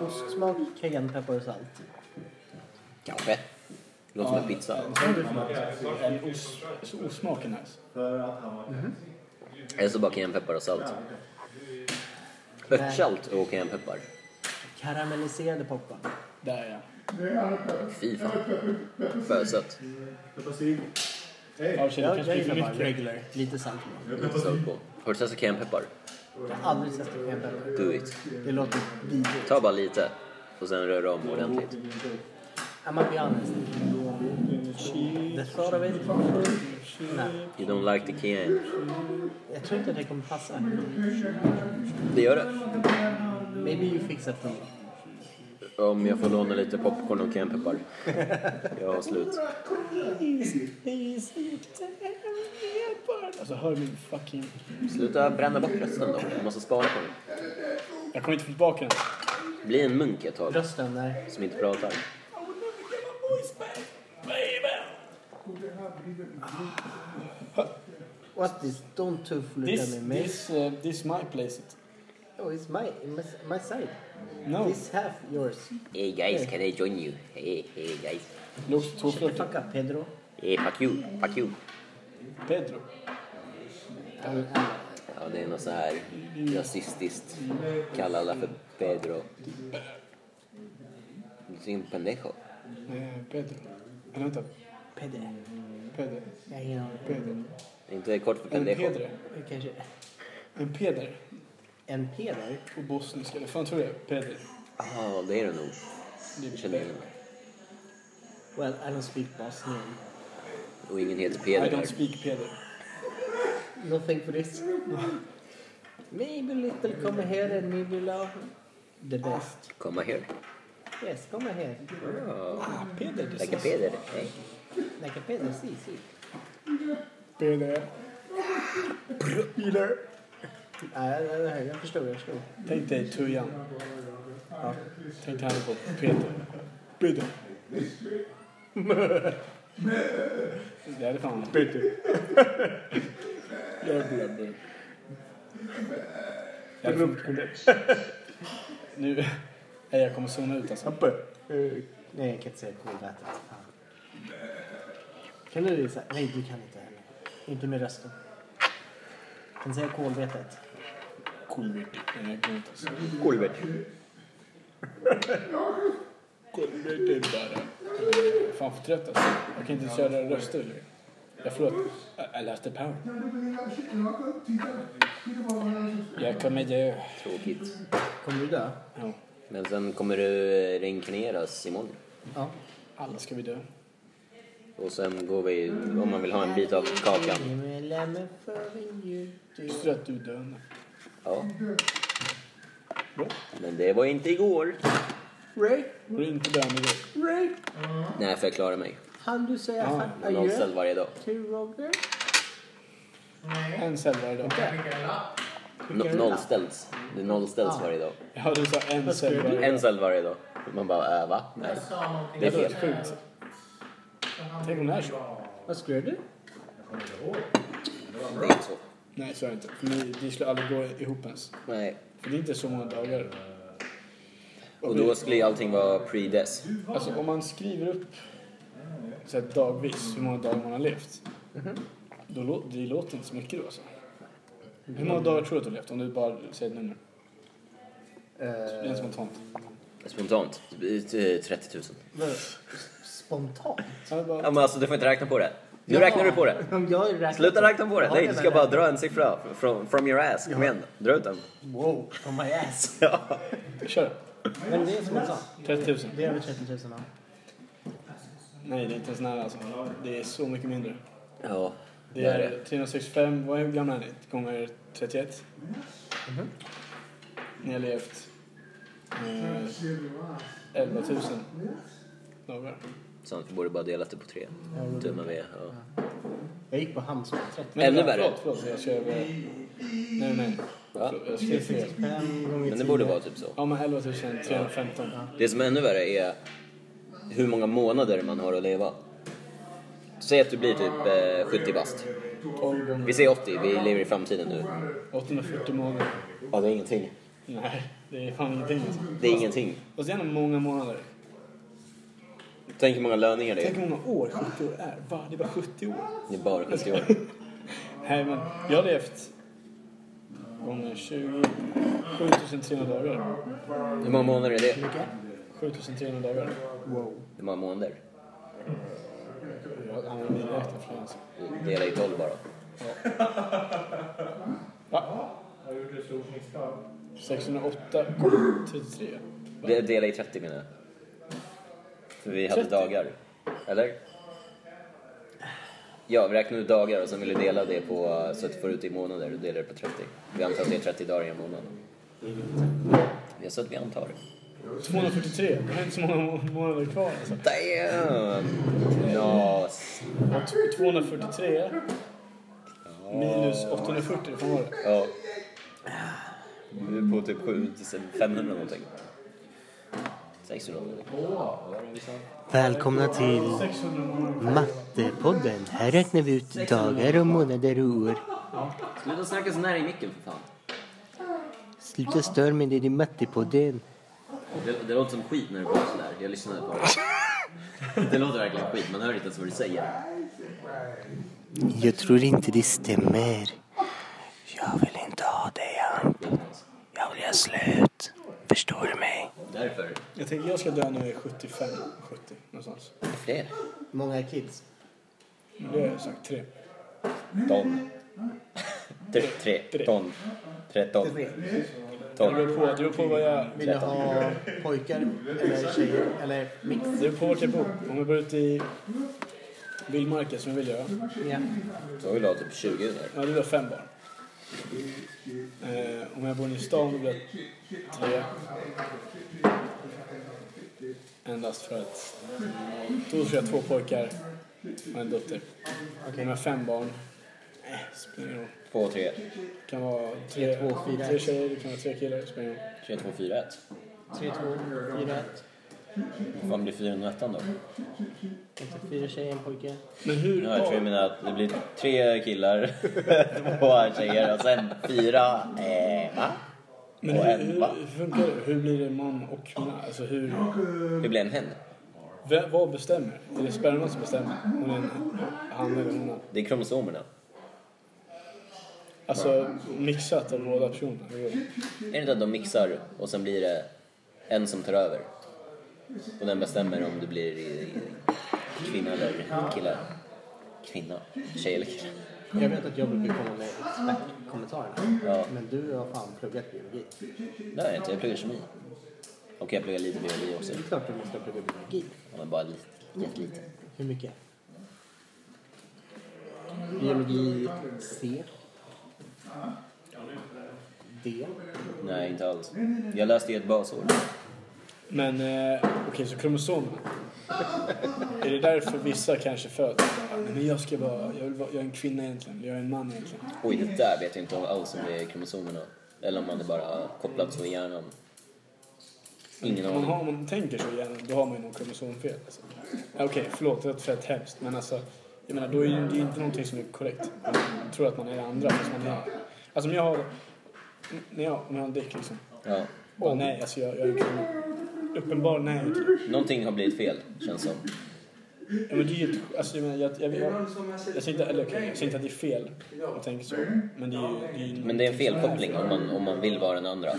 S3: Ostsmak, cayennepeppar och salt.
S1: Kanske. Låter som en pizza.
S4: En sån du får En ost, så ostsmak är nice.
S1: Eller så bara cayennepeppar och salt. Örtsalt och cayennepeppar.
S3: Karamelliserade popcorn.
S4: Där ja.
S1: Fy fan. Fösött.
S4: Ja, tjej,
S3: Jag,
S4: det kanske
S3: jag
S4: blir för
S3: gillar bara
S4: mycket.
S3: regular, lite salt.
S1: Lite salt på. Har du testat cayennepeppar?
S3: Jag har aldrig testat cayennepeppar.
S1: Do it.
S3: Det låter vidrigt.
S1: Ta bara lite. Och sen rör du om ordentligt.
S3: I'm gonna be honest. The thought of it? Nej.
S1: You don't like the cayenne.
S3: Jag tror inte det kommer passa.
S1: Det gör det.
S3: Maybe you fix it for me.
S1: Om jag får låna lite popcorn och cayennepeppar. Jag har slut.
S4: Alltså hör min fucking...
S1: Sluta bränna bort resten då. Du måste spara på den.
S4: Jag kommer inte få tillbaka den.
S1: Bli en munk ett tag.
S3: Rösten där.
S1: Som inte pratar.
S3: What this? Don't too fluta
S4: This,
S3: med mig.
S4: this, uh, this my place it.
S3: Oh, it's my, my, my side.
S4: No.
S3: This half yours.
S1: Hey guys, can I join you? Hey, hey guys.
S4: Looks too
S3: Shut the
S4: flirty.
S3: fuck up, Pedro.
S1: Hey, fuck you. Fuck you.
S4: Pedro.
S3: Alla- alla.
S1: Ja, det är något så här rasistiskt. Kalla alla för Pedro. Du är en pendejo.
S4: Nej, Pedro. Eller vänta.
S3: Pedro.
S4: Pedro.
S3: Jag har ingen aning.
S4: Pedro.
S1: Är Inte kort för
S4: En
S1: pendejo.
S4: Pedro.
S3: Kanske
S4: En Peder.
S3: en Peder?
S4: På bosniska. Eller fan tror jag det är. Peder.
S1: Ja, Ah, det är det nog.
S4: Det
S1: Jag
S4: är
S1: känner igen
S4: Pedro.
S1: det.
S3: Well, I don't speak Bosnian.
S1: Och ingen heter
S4: I
S1: Peder
S4: don't
S1: här.
S4: speak Peder.
S8: Nothing for this. Maybe little come here and maybe love the best.
S1: Komma here.
S8: Yes, come here.
S1: Oh,
S8: Ah, Peder, du
S1: like a Peder. eh?
S8: Like a Peder, see, see.
S4: Peder. Peder.
S8: Ja, jag, jag, jag förstod, jag förstod.
S4: Tänk dig Tujan. Ja. Tänk dig han på Peter. Peter. Det är fan... Peter. Jävla bud. Jag tror Nu... Nej, jag kommer zona ut alltså.
S3: Eh, Nej, jag kan inte säga kolvätet. Fan. Ah. Kan du det? så här- Nej, du kan inte heller. Inte med rösten. Kan säga kolvetet.
S4: Kolvirt. Nej, jag kommer inte alltså.
S1: Kolbert.
S4: Kolvirt bara. Fan för trött alltså. Jag kan inte köra röster. Jag förlåt. Jag- Jag läste power. Jag kommer dö.
S1: Tråkigt.
S3: Kommer du dö?
S4: Ja.
S1: Men sen kommer du eh, reinkarneras imorgon.
S3: Ja.
S4: Alla ska vi dö.
S1: Och sen går vi, om man vill ha en bit av kakan.
S8: Lemon for you to...
S4: Visste du att du dör nu?
S1: Ja. Men det var inte igår.
S8: Ray,
S4: Går du inte dö nu?
S8: Ray,
S1: Nej, för jag klarar mig.
S8: han du säga
S4: Ja,
S8: ah,
S1: Jag har noll
S8: adjö
S1: cell varje dag.
S8: till
S3: Eh,
S8: Roger?
S4: En cell varje dag.
S1: No, nollställs. Det nollställs varje dag.
S4: Ja, du sa en cell varje dag.
S1: En cell varje dag. Man bara, äh, va? Nej. Det är
S4: Det låter
S1: fel.
S4: sjukt. Tänk om det är så.
S3: Vad skulle du?
S1: Det är inte så.
S4: Nej, så är det inte. För mig, det skulle aldrig gå ihop ens.
S1: Nej.
S4: För det är inte så många dagar.
S1: Och då skulle ju allting vara pre-dess.
S4: Alltså om man skriver upp så här, dagvis hur många dagar man har levt. Då lå- det låter inte så mycket då alltså. Hur många dagar tror du att du har levt? Om du bara säger ett nummer. Rent spontant.
S1: Spontant. eh, 30 000.
S3: Vadå? Spontant?
S4: Ja, bara,
S1: Ja, men alltså, du får inte räkna på det. Nu räknar du på det.
S3: Om jag räknar-
S1: Sluta räkna på det.
S3: Ja,
S1: Nej, du ska
S3: men-
S1: bara dra en siffra from, from your ass. Kom igen, dra ut den.
S3: Wow, from my ass.
S4: kör.
S3: Men det är spontant.
S4: 30 000.
S3: Det är över 30 000 va?
S4: Nej, det är inte ens nära alltså. Det är så mycket mindre.
S1: Ja,
S4: Det är 365, vad är hur gamla är ni? Gånger 31? Ni har levt eh, 11 000 dagar.
S1: Sånt, vi borde bara dela det på tre. Dumma vi är. Ja.
S3: Jag gick på Hamnskolan.
S4: Men,
S1: Ännu
S4: nej,
S1: värre.
S4: Förlåt, förlåt, jag skrev... eh, Nej, nej.
S1: Va?
S4: Förlåt, Jag skrev fel.
S3: 35 gånger
S1: Men
S3: 10.
S1: det borde vara typ så.
S4: Ja, men 11 315.
S1: Det som är ännu värre är hur många månader man har att leva. Säg att du blir typ eh, 70 bast.
S4: 12 gånger
S1: Vi säger 80, vi lever i framtiden nu.
S4: 840 månader.
S1: Ja, det är ingenting.
S4: Nej, det är fan ingenting alltså.
S1: Det är ingenting.
S4: Och sen många månader.
S1: Tänk hur många löningar det
S4: Tänk
S1: är.
S4: hur många år 70 år är. Va? Det är bara 70 år.
S1: Det är bara 70 år.
S4: Nej, men jag har levt gånger 20, 7300 dagar.
S1: Hur många månader är det?
S4: 7300 dagar.
S1: Hur många månader?
S4: Jag använder min räknare för det. alltså.
S1: Dela i 12 bara.
S4: Va?
S6: Jag gjorde ett stort misstag.
S4: 608 33.
S1: De- Dela i 30 menar jag. För vi hade
S4: 30?
S1: dagar. Eller? Ja, vi räknade ut dagar och sen ville vi dela det på eh, så att du får ut det i månader och delar det på 30. Vi antar att det är 30 dagar i en månad. Mm. Det är så att vi antar.
S4: 243. Det är inte så många må- månader kvar alltså.
S1: Damn! Knas!
S4: Och t- 243 minus 840, vad var det?
S1: Ja. Vi är på typ 7500 någonting. 600 någonting.
S3: Välkomna till Mattepodden. Här räknar vi ut dagar och månader och år.
S1: Sluta snacka så nära i micken för fan.
S3: Sluta störa mig, det är din Mattepodden.
S1: Det, det låter som skit när du pratar sådär. Jag lyssnade på det. Det låter verkligen skit. Man hör inte ens vad du säger.
S3: Jag tror inte det stämmer. Jag vill inte ha dig, Ant. Jag vill göra slut. Förstår du mig?
S1: Därför.
S4: Jag tänker jag ska dö när jag är 75, 70 någonstans.
S1: Det.
S3: Många kids.
S4: Men Det har jag sagt tre.
S1: Ton. Tre. tre. Ton. Tretton.
S4: Det
S1: Ton.
S4: beror på, det beror på vad jag...
S3: Vill du ha pojkar eller tjejer eller mix?
S4: Det beror på vart jag bor. Om jag bor ute i Vill Marcus, men vill jag.
S8: Ja.
S1: Så vill du ha typ 20 där.
S4: Ja, det blir fem barn. Eh, om jag bor inne i stan då blir det tre. Endast för att då tror jag två pojkar och en dotter. Om jag har fem barn, eh, spelar ingen roll.
S1: 2, 3,
S4: Det kan vara tre,
S3: Två, fyra.
S4: tre tjejer, det kan vara tre killar, det spelar ingen roll.
S1: 3, 2, 4, 1.
S3: 3, 2, 4, 1.
S1: Vad fan blir 401 då?
S3: Fyra tjejer, en pojke.
S4: Men hur...
S1: Nu har jag tror jag menar att det blir tre killar, [LAUGHS] två tjejer och sen fyra, eh, va?
S4: Men
S1: Och
S4: hur,
S1: en, va?
S4: hur, hur funkar det? Hur blir det man och kvinna? Alltså hur...
S1: Det blir en hen.
S4: v- Vad bestämmer? Är det sperman som bestämmer? Hon är en, han eller hon?
S1: Det är kromosomerna.
S4: Alltså mixat av båda personerna. Hur går det?
S1: Är det inte att de mixar och sen blir det en som tar över? Och den bestämmer om det blir i- i- kvinna eller killar. Kvinna, tjej eller kille.
S3: Jag vet att jag brukar komma med expertkommentarerna.
S1: Ja,
S3: Men du har fan pluggat biologi.
S1: det har jag inte. Jag pluggar kemi. Och jag pluggar lite biologi också.
S3: Det är klart du måste ha pluggat biologi.
S1: Ja, Men bara lite, jättelite.
S3: Hur mycket? Biologi C. D.
S1: Nej, inte alls. Jag läste ju ett basår.
S4: Men eh, okej, så kromosomerna. är det därför vissa kanske föds? Men jag ska vara, jag, vill vara, jag är en kvinna egentligen, jag är en man egentligen.
S1: Oj, det där vet jag inte alls om det är kromosomerna. Eller om man är bara kopplad så i hjärnan. Ingen
S4: Om man,
S1: aning.
S4: har, om man tänker så igen, då har man ju någon kromosomfel. Alltså. Ja, Okej, förlåt, det låter fett hemskt. Men alltså, jag menar, då är det ju inte någonting som är korrekt. Man tror att man är det andra, fast man är... Alltså om jag har... När jag, om jag har en dick liksom.
S1: Ja.
S4: Bara, nej, alltså jag, jag är en kvinna. Uppenbar nej.
S1: Någonting har blivit fel, känns som.
S4: Ja, men det är ju ett, alltså, jag, menar, jag, jag, jag, jag, säger inte, eller, okej, jag säger inte att det är fel att tänka så. Men det är ju... Det är ju
S1: Men det är en felkoppling om man, om man vill vara den andra.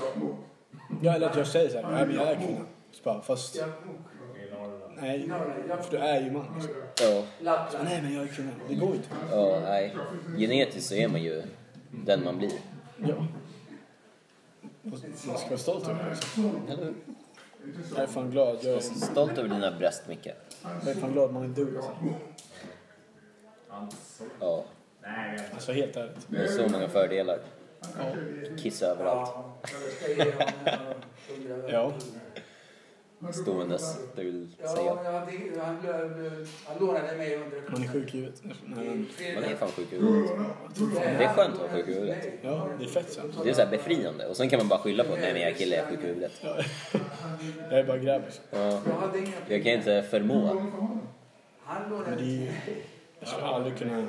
S4: Ja, eller att jag säger så här, nej men jag är kvinna. Så bara, fast... Nej, för du är ju man. Liksom.
S1: Ja,
S4: Så, nej men jag är kvinna. Det går ju inte.
S1: ja, nej. Genetiskt så är man ju den man blir.
S4: Ja. Man ska vara stolt över det. också.
S1: Eller hur?
S4: Jag är fan glad. Jag är,
S1: Stolt över dina bröst, Micke.
S4: jag är fan glad man är du. Alltså,
S1: Ja,
S4: alltså helt ärligt.
S1: det är så många fördelar.
S4: Ja.
S1: Kiss överallt.
S4: ja.
S1: Ståendes, det vill säga.
S7: Han lånade mig under...
S4: Man är sjuk i huvudet. Nej, men,
S1: Man är fan sjuk i huvudet. Det är skönt att vara sjuk i huvudet.
S4: ja, det är fett sant.
S1: Det är så här befriande. Och sen kan man bara skylla på att nej men jag är kille, jag är sjuk i huvudet.
S4: Jag är bara grabb. Liksom.
S1: Ja,
S7: Jag hade inga...
S1: jag kan inte förmå.
S7: Han
S4: Men det är
S7: lånade...
S4: ju... Jag skulle aldrig kunna...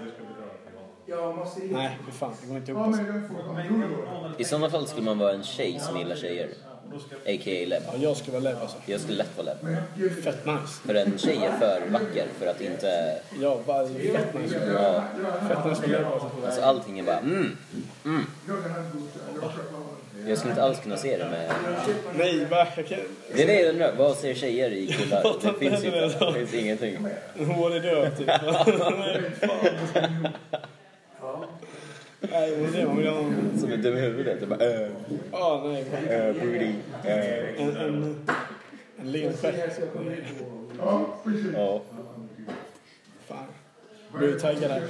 S7: Jag måste...
S4: Nej, för fan. Det går inte ihop. Alltså.
S1: I sådana fall skulle man vara en tjej som gillar tjejer. A.k.a. lebb.
S4: Ja, jag skulle vara lebb alltså.
S1: Jag skulle lätt vara lebb.
S4: Fett nice.
S1: För en tjej är för vacker för att inte...
S4: Ja, bara fett nice.
S1: Ja,
S4: Fett nice med lebb alltså.
S1: alltså allting är bara mm, mm. Jag skulle inte alls kunna se det med...
S4: Nej, va? Jag kan...
S1: Det är det jag undrar. Vad ser tjejer i [LAUGHS] killar? Det finns ju inte. Det finns ingenting.
S4: Hon är död typ. [LAUGHS] Nej, fan. Nej, men det är man vill ha någon...
S1: Som är dum i huvudet. Det är bara äh,
S4: Ja, nej.
S1: äh, booty, äh.
S4: En, en, en lerstjärt.
S1: Ja.
S4: Fan. Blev du taggad här?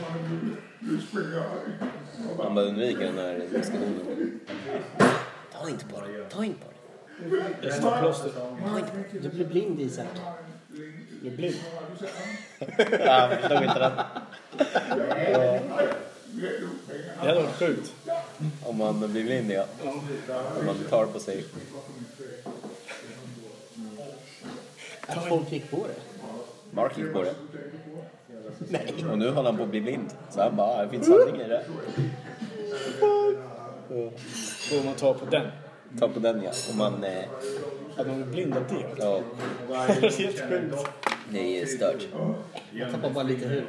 S1: Man bara undviker den här diskussionen. Ta inte på det. Ta inte på det.
S4: Jag står plåster.
S3: Du blir blind i sen.
S4: Du är blind.
S1: Ja, jag förstod inte den.
S4: Det hade varit sjukt.
S1: Om man blir blind, ja. Om man tar på sig.
S3: Att folk fick på det.
S1: Mark gick på det. Och nu håller han på att bli blind. Så han bara, "Ah, det finns sanning i det.
S4: Så om man tar på den.
S1: Ta på den ja. Om man, eh,
S4: Att man blir blind av det.
S1: ja,
S4: Det är helt sjukt.
S1: det är stört.
S3: Jag tappar bara lite hud.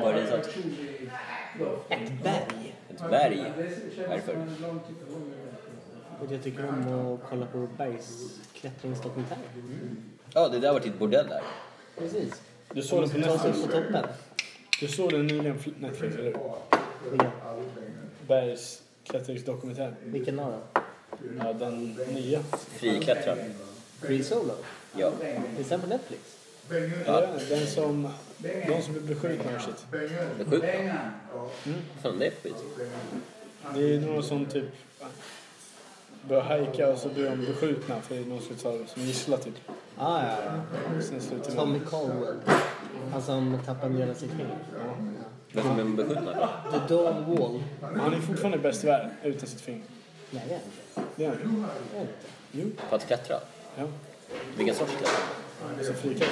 S1: Vad är det sånt?
S3: Ett berg.
S1: Ett berg? Varför?
S6: tipo, né?
S3: Och jag tycker om att kolla på bergsklättringsdokumentärer.
S1: Ja, det där var ditt bordell där.
S3: Precis.
S4: Du såg den på
S3: Ta sig upp
S4: Netflix.
S3: på toppen.
S4: Du såg den nyligen på Netflix, eller hur?
S3: Vilken-
S4: Bergs klättringsdokumentär.
S3: Vilken av dem?
S4: Ja, den nya.
S1: Friklättraren.
S3: Free Solo.
S1: Ja.
S3: Finns den på Netflix?
S4: Ja. Den som, de som blev beskjutna och shit.
S1: Det är sjukt bra.
S7: Pengar. Ja.
S1: Mm. Fan, det är skit.
S4: Det är några som typ börjar hajka och så blir de beskjutna för det är någon som tar dem som gisslan typ.
S3: Ah, ja, ja.
S4: Sen slutar de.
S3: Tommy Cowell. Han som tappade hela sitt finger.
S1: Varför blev de beskjutna då?
S3: The Dawn Wall.
S4: Han är fortfarande bäst i världen utan sitt finger.
S3: Nej, det är han inte.
S4: Det är han
S3: Det är han inte.
S4: ju. Jo.
S1: På att klättra?
S4: Ja.
S1: Vilken sorts klättra?
S4: Och så frikar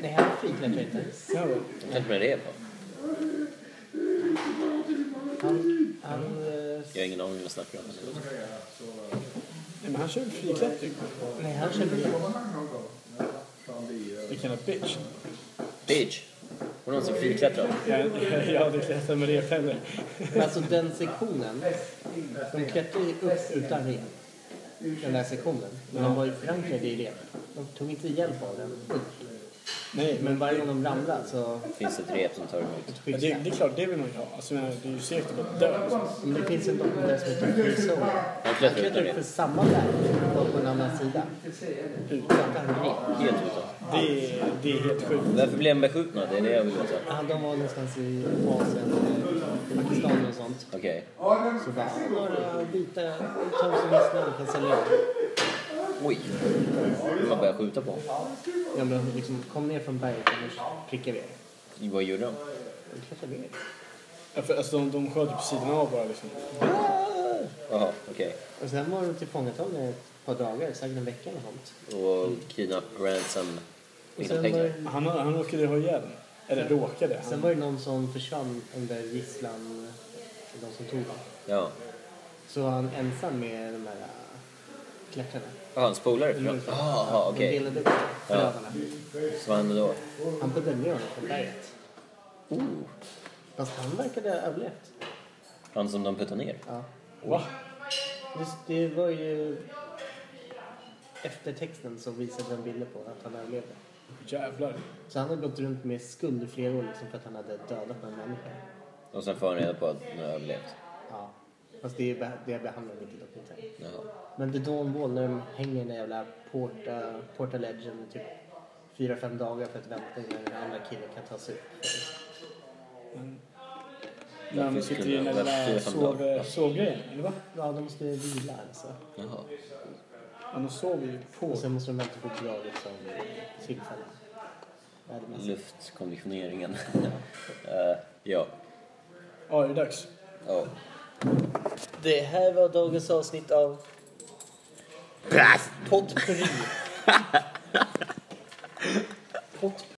S3: Nej, han friklättrar inte.
S4: Ja, väl.
S1: Klättra med rev va?
S3: Han, han, eh,
S1: Jag har ingen aning om vad jag snackar om.
S4: Nej, men han kör typ. friklättring.
S3: nej, han körde ju.
S4: Vilken jävla bitch.
S1: Beach! Var det någon som friklättrade?
S4: Jag, jag, jag hade klättrat med reptänder.
S3: Men alltså den sektionen, de klättrade ju upp utan rep. Den där sektionen. Men de var ju förankrade i rep. De tog inte hjälp av den.
S4: Nej, men
S3: Men varje gång de ramlade så...
S1: Finns det ett rep som tar emot?
S3: Ett
S4: ja, det, det
S3: skyddsnät.
S4: är klart, det vill man ju ha. Alltså, jag menar, det är ju segt att bara dö. liksom.
S3: Men det finns en dokumentär som heter Free Soul.
S1: Han
S3: Han
S1: klättrar utan
S3: klättrade upp för
S1: rep.
S3: samma berg, fast på en annan sida. Utan rep.
S1: Helt utan.
S4: Det är, det är helt sjukt.
S1: Varför blev de beskjutna? Det är det jag vill veta.
S3: Ja, de var någonstans i Asien, eh, Pakistan och sånt.
S1: Okej.
S3: Så bara, "Ah, några vita tar som gisslan kan sälja ut.
S1: Oj! Man började skjuta på honom.
S3: Ja, men liksom, kom ner från berget och pricka vi er.
S1: Vad gjorde de?
S3: De klättrade ner.
S4: Ja, för, alltså, de, de sköt ju på sidan av bara liksom.
S1: Jaha, okej.
S3: Och sen var de tillfångatagna i ett par dagar, säkert en vecka eller sånt.
S1: Och kidnap ransom.
S3: Och
S1: Inga
S3: sen var,
S1: pengar.
S3: det-
S4: Han, han råkade ha ihjäl den. Eller råkade.
S3: sen
S4: Han,
S3: var det någon som försvann under gisslan, eh, de som tog honom.
S1: Ja.
S3: Så var han ensam med de här äh, klättrarna.
S1: Ah, hans polare
S3: De
S1: försvann?
S3: delade-
S1: Jaha,
S3: de
S1: okej.
S3: delade upp förövarna.
S1: Så vad hände då?
S3: Han puttade ner honom från berget.
S1: Oh,
S3: Fast han verkade ha överlevt.
S1: han som de puttade ner?
S3: Ja.
S4: va?
S3: Just, det var ju eftertexten som visade en bild på att han överlevde.
S4: Jävlar.
S3: Så han har gått runt med skuld i flera år liksom för att han hade dödat en människa.
S1: Och sen får han reda på att han har överlevt?
S3: Ja. Fast det, är beh- det behandlar inte i dokumentären.
S1: Jaha.
S3: Men The Dawn Wall när de hänger i den jävla Porta, Porta Legend i typ fyra fem dagar för att vänta innan den andra killen kan ta sig upp.
S4: När de sitter i den där lilla sov- sovgrejen, eller va?
S3: Ja, de måste vila alltså.
S1: Jaha.
S4: Ja, de sover ju på.
S3: Och sen måste de vänta på bra liksom, tillfälle. Ja, det är massa.
S1: Luftkonditioneringen. [LAUGHS] Eh, ja.
S4: Ja, det är dags.
S1: Ja.
S2: Det här var dagens avsnitt av
S1: Blast!
S2: Potpurri. Potpurri.